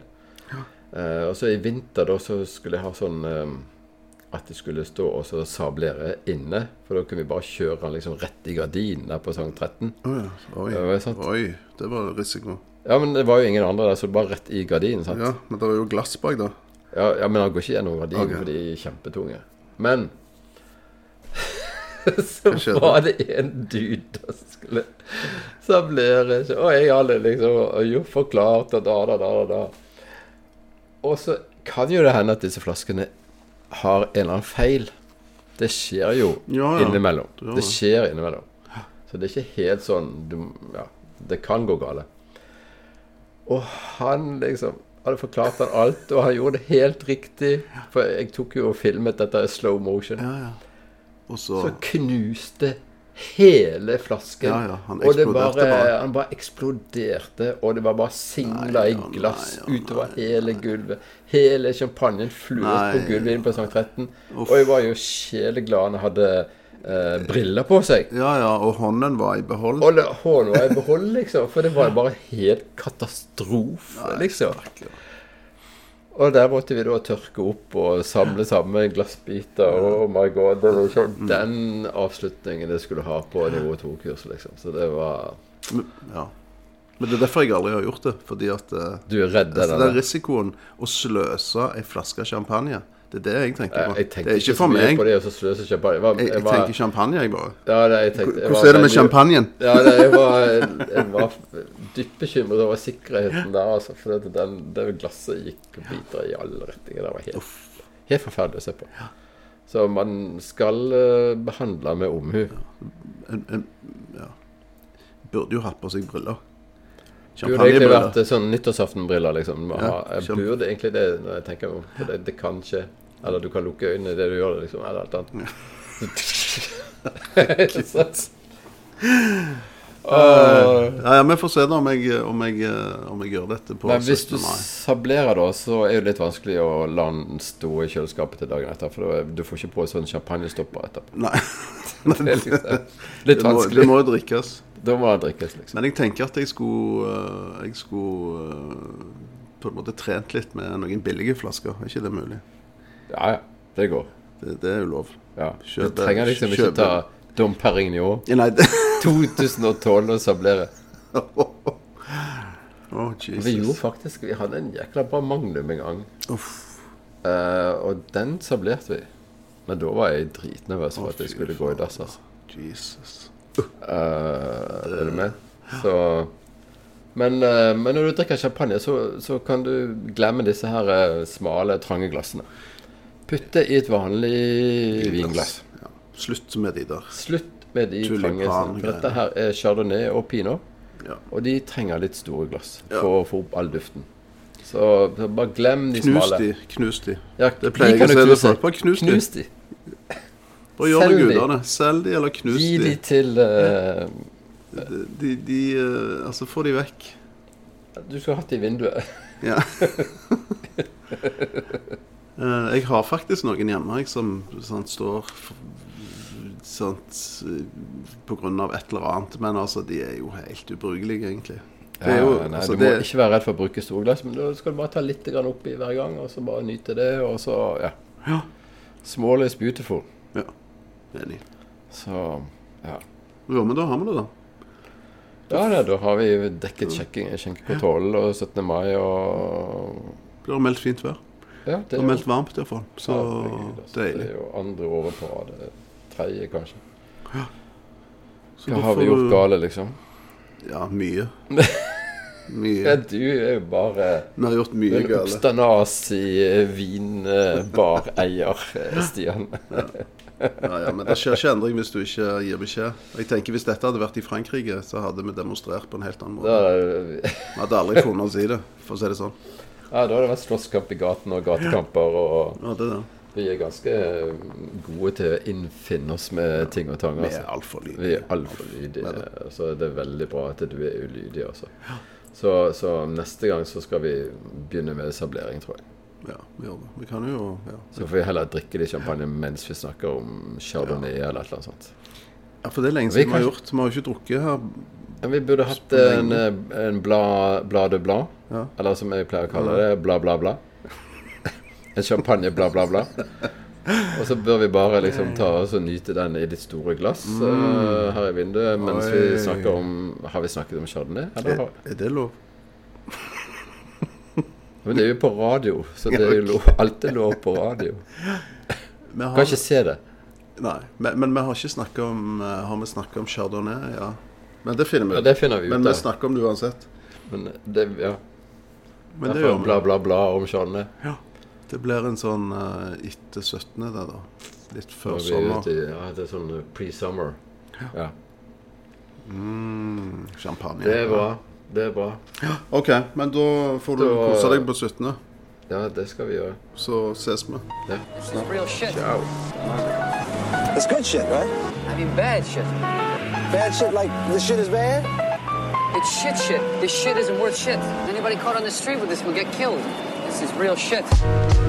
Speaker 4: Eh, og så i vinter, da, så skulle jeg ha sånn eh, at de skulle stå og så sablere inne. For da kunne vi bare kjøre den liksom rett i gardinen der på sang 13.
Speaker 3: Å ja. Oi.
Speaker 4: Ja, det er sant.
Speaker 3: Oi, det var risiko.
Speaker 4: Ja, men det var jo ingen andre der, så bare rett i gardinen. sant?
Speaker 3: Ja, men det er jo glass bak, da.
Speaker 4: Ja, ja men han går ikke gjennom gardinen,
Speaker 3: Ok.
Speaker 4: for de er kjempetunge. Men så
Speaker 3: Hva skjedde?
Speaker 4: var det en dude som skulle sablere Og jeg hadde liksom jo forklart og da, da, da, da, da. Og så kan jo det hende at disse flaskene har en eller annen feil. Det skjer jo
Speaker 3: Ja, ja.
Speaker 4: innimellom.
Speaker 3: Det gjør
Speaker 4: Det
Speaker 3: det.
Speaker 4: skjer innimellom. Så det er ikke helt sånn du, ja, Det kan gå gale. Og han liksom hadde forklart han alt, og han gjorde det helt riktig. For jeg tok jo og filmet dette i slow motion.
Speaker 3: Ja, ja. Og så
Speaker 4: Så knuste hele flasken.
Speaker 3: Ja, ja, han
Speaker 4: og det bare,
Speaker 3: eksploderte bare.
Speaker 4: Han bare eksploderte, og det var bare
Speaker 3: Nei,
Speaker 4: singla i
Speaker 3: å
Speaker 4: glass
Speaker 3: nei, å
Speaker 4: utover
Speaker 3: nei,
Speaker 4: hele gulvet. Hele champagnen
Speaker 3: Nei,
Speaker 4: fløt på gulvet inne på Sankt 13.
Speaker 3: Uff.
Speaker 4: Og jeg var jo sjeleglad når jeg hadde eh, briller på seg.
Speaker 3: Ja, ja, og hånden var i behold.
Speaker 4: Og det- hånden var i behold, liksom. For det var bare helt katastrofe, liksom. Og der måtte vi da tørke opp og samle sammen glassbiter. og Oh my god. Det var sånn
Speaker 3: Mm.
Speaker 4: den avslutningen jeg skulle ha på nivå 2-kurs, liksom. Så det var
Speaker 3: Men- Ja. Men det er derfor jeg aldri har gjort det. Fordi at eh,
Speaker 4: Du er redd
Speaker 3: altså, Den
Speaker 4: den der.
Speaker 3: risikoen å sløse ei flaske champagne, det er det jeg tenker
Speaker 4: Jeg,
Speaker 3: på.
Speaker 4: jeg tenkte
Speaker 3: det er
Speaker 4: ikke
Speaker 3: ikke
Speaker 4: så
Speaker 3: for
Speaker 4: mye
Speaker 3: meg.
Speaker 4: på det å så sløse champagne. Jeg var-
Speaker 3: Jeg,
Speaker 4: jeg
Speaker 3: jeg
Speaker 4: var-
Speaker 3: tenker champagne, jeg bare.
Speaker 4: Ja, det- jeg tenkte- jeg var
Speaker 3: Hvordan er det med
Speaker 4: veldig-
Speaker 3: champagnen?
Speaker 4: Ja, det, jeg, var, jeg var dypt bekymret over sikkerheten der, altså. For det, den, det glasset gikk og biter i alle retninger. Det var helt, helt forferdelig å se på. Så man skal eh, behandle med omhu.
Speaker 3: En, en, ja. Burde jo hatt på seg briller.
Speaker 4: Burde egentlig
Speaker 3: Champagnebriller.
Speaker 4: vært eh, sånn nyttårsaftenbriller, liksom. Man
Speaker 3: Ja,
Speaker 4: har- jeg
Speaker 3: kjempe-
Speaker 4: burde egentlig det, når jeg tenker meg om. For det, det kan skje. Eller du kan lukke øynene i det du gjør det, liksom. Eller alt annet. Så- Åh.
Speaker 3: Ja, ja, Vi får se da om jeg, om jeg, eh, om jeg gjør dette på
Speaker 4: Men hvis du
Speaker 3: 17. mai.
Speaker 4: sablerer, da, så er det litt vanskelig å la den stå i kjøleskapet til dagen etter. For da er- du får ikke på sånn champagnestopper etterpå.
Speaker 3: Nei.
Speaker 4: Det er liksom litt
Speaker 3: Det må,
Speaker 4: vanskelig.
Speaker 3: det må jo drikkes.
Speaker 4: Da må den drikkes, liksom.
Speaker 3: Men jeg tenker at jeg skulle eh, Jeg skulle eh, på en måte trent litt med noen billige flasker. Er ikke det mulig?
Speaker 4: Ja, ja. Det går.
Speaker 3: Det, det er jo lov.
Speaker 4: Ja.
Speaker 3: Kjøpe-
Speaker 4: du trenger liksom ikke
Speaker 3: kjøpe-
Speaker 4: ta Dom Perignon
Speaker 3: Ja, Nei, det
Speaker 4: 2012 og sablere.
Speaker 3: Å,
Speaker 4: Vi gjorde
Speaker 3: Jesus.
Speaker 4: faktisk Vi hadde en jækla bra Magnum en gang.
Speaker 3: Uff.
Speaker 4: eh, og den sablerte vi. Men da var jeg dritnervøs for
Speaker 3: Å,
Speaker 4: at jeg
Speaker 3: fy
Speaker 4: skulle gå i dass, altså.
Speaker 3: Jesus.
Speaker 4: Eh, er du med? Så men, eh, men når du drikker champagne, så, så kan du glemme disse her eh, smale, trange glassene. Putte i et vanlig vinglass.
Speaker 3: Ja. Slutt med de der.
Speaker 4: Slutt med de trange. sånn.
Speaker 3: Tulipan-greiene.
Speaker 4: For dette her er chardonnay og pinot,
Speaker 3: Ja.
Speaker 4: og de trenger litt store glass
Speaker 3: Ja.
Speaker 4: for å få opp all duften. Så så bare glem de
Speaker 3: Knus
Speaker 4: smale.
Speaker 3: de. Knus de.
Speaker 4: Ja,
Speaker 3: Det pleier jeg å
Speaker 4: kan
Speaker 3: si
Speaker 4: du
Speaker 3: til
Speaker 4: knuse.
Speaker 3: folk. Bare knus de.
Speaker 4: knus de.
Speaker 3: Bare gjør noe
Speaker 4: Selg de.
Speaker 3: ut av det. Selg de, eller knus
Speaker 4: Gi
Speaker 3: de.
Speaker 4: de til eh,
Speaker 3: De, de, eh, Altså, få de vekk.
Speaker 4: Du skulle hatt de i vinduet.
Speaker 3: Ja. Eh, jeg har faktisk noen hjemme jeg, som sant, står f- sant, eh, på grunn av et eller annet, men altså, de er jo helt ubrukelige, egentlig. Det er jo,
Speaker 4: Ja, nei,
Speaker 3: altså,
Speaker 4: du må
Speaker 3: det-
Speaker 4: ikke være redd for å bruke storglass, men da skal du bare ta litt grann oppi hver gang, og så bare nyte det, og så ja.
Speaker 3: Ja.
Speaker 4: Small is beautiful.
Speaker 3: Ja, enig.
Speaker 4: Så ja.
Speaker 3: Jo, men da har vi det, da.
Speaker 4: Ja, nei, da har vi dekket sjekking- skjenkekontrollen og 17. mai og
Speaker 3: Blir det meldt fint vær.
Speaker 4: Ja, det
Speaker 3: Det
Speaker 4: er
Speaker 3: er
Speaker 4: jo
Speaker 3: meldt varmt iallfall. Så
Speaker 4: Herregud, altså, Det
Speaker 3: deilig.
Speaker 4: er jo andre året på rad. det Tredje, kanskje.
Speaker 3: Så
Speaker 4: Hva
Speaker 3: da
Speaker 4: har vi
Speaker 3: får
Speaker 4: gjort
Speaker 3: du-
Speaker 4: gale, liksom?
Speaker 3: Ja, mye.
Speaker 4: Ja,
Speaker 3: Mye.
Speaker 4: du er jo bare eh,
Speaker 3: Vi har gjort mye
Speaker 4: en
Speaker 3: galt.
Speaker 4: obstanasi vinbareier, eh, Stian.
Speaker 3: Ja, ja, men det skjer ikke endring hvis du ikke gir beskjed. Jeg tenker Hvis dette hadde vært i Frankrike, så hadde vi demonstrert på en helt annen måte.
Speaker 4: Da er det
Speaker 3: Vi hadde aldri funnet oss i det, for å si det sånn.
Speaker 4: Ja, da har det vært slåsskamp i gaten og gatekamper, og
Speaker 3: Ja, det er det.
Speaker 4: vi er ganske eh, gode til å innfinne oss med ting og tang.
Speaker 3: Vi
Speaker 4: Altså.
Speaker 3: er altfor
Speaker 4: Vi
Speaker 3: lydige.
Speaker 4: er altfor lydige, så det er veldig bra at du er ulydig, altså. Så, så neste gang så skal vi begynne med sablering, tror jeg.
Speaker 3: Ja, vi gjør det. Vi kan jo ja.
Speaker 4: Så får vi heller drikke litt champagne mens vi snakker om chardonnay eller et eller annet sånt.
Speaker 3: ja, for det er lenge
Speaker 4: Vi
Speaker 3: siden vi har
Speaker 4: kan-
Speaker 3: gjort. Vi har jo ikke drukket her.
Speaker 4: Men vi burde hatt en, eh, en bla, bla de bla,
Speaker 3: Ja.
Speaker 4: eller som jeg pleier å kalle det, bla, bla, bla. En champagne, bla, bla, bla. Og så bør vi bare liksom ta oss og nyte den i litt store glass eh, her i vinduet mens
Speaker 3: Mm. Oi.
Speaker 4: vi snakker om Har vi snakket om chardonnay? Eller?
Speaker 3: Er,
Speaker 4: har-
Speaker 3: er det lov?
Speaker 4: Men det er jo på radio, så det er jo lov, alltid lov på radio.
Speaker 3: Vi har,
Speaker 4: Kan ikke se det.
Speaker 3: Nei, men, men vi har ikke snakket om eh, Har vi snakket om chardonnay? Ja. Men det finner vi
Speaker 4: Ja, det finner vi ut
Speaker 3: Men vi
Speaker 4: av.
Speaker 3: snakker om det uansett.
Speaker 4: Men det, ja.
Speaker 3: Men det
Speaker 4: Derfor
Speaker 3: gjør vi.
Speaker 4: bla, bla, bla om chardonnay.
Speaker 3: Ja. Det blir en sånn eh, etter 17. der, da. Litt før
Speaker 4: Når vi er
Speaker 3: sommer.
Speaker 4: ute i, ja, det er sånn eh, pre-summer. Ja.
Speaker 3: Champagne.
Speaker 4: Det er bra. Det er bra.
Speaker 3: OK, men da får du
Speaker 4: Da-
Speaker 3: kose deg på 17.
Speaker 4: Ja, det skal vi gjøre.
Speaker 3: Så ses vi.
Speaker 4: Ja.
Speaker 1: This is real shit.
Speaker 4: Ciao.
Speaker 2: It's good shit, right?
Speaker 1: I mean, bad shit.
Speaker 2: Bad shit like the shit is bad?
Speaker 1: It's shit shit. This shit isn't worth shit. Anybody caught on the street with this will get killed. This is real shit.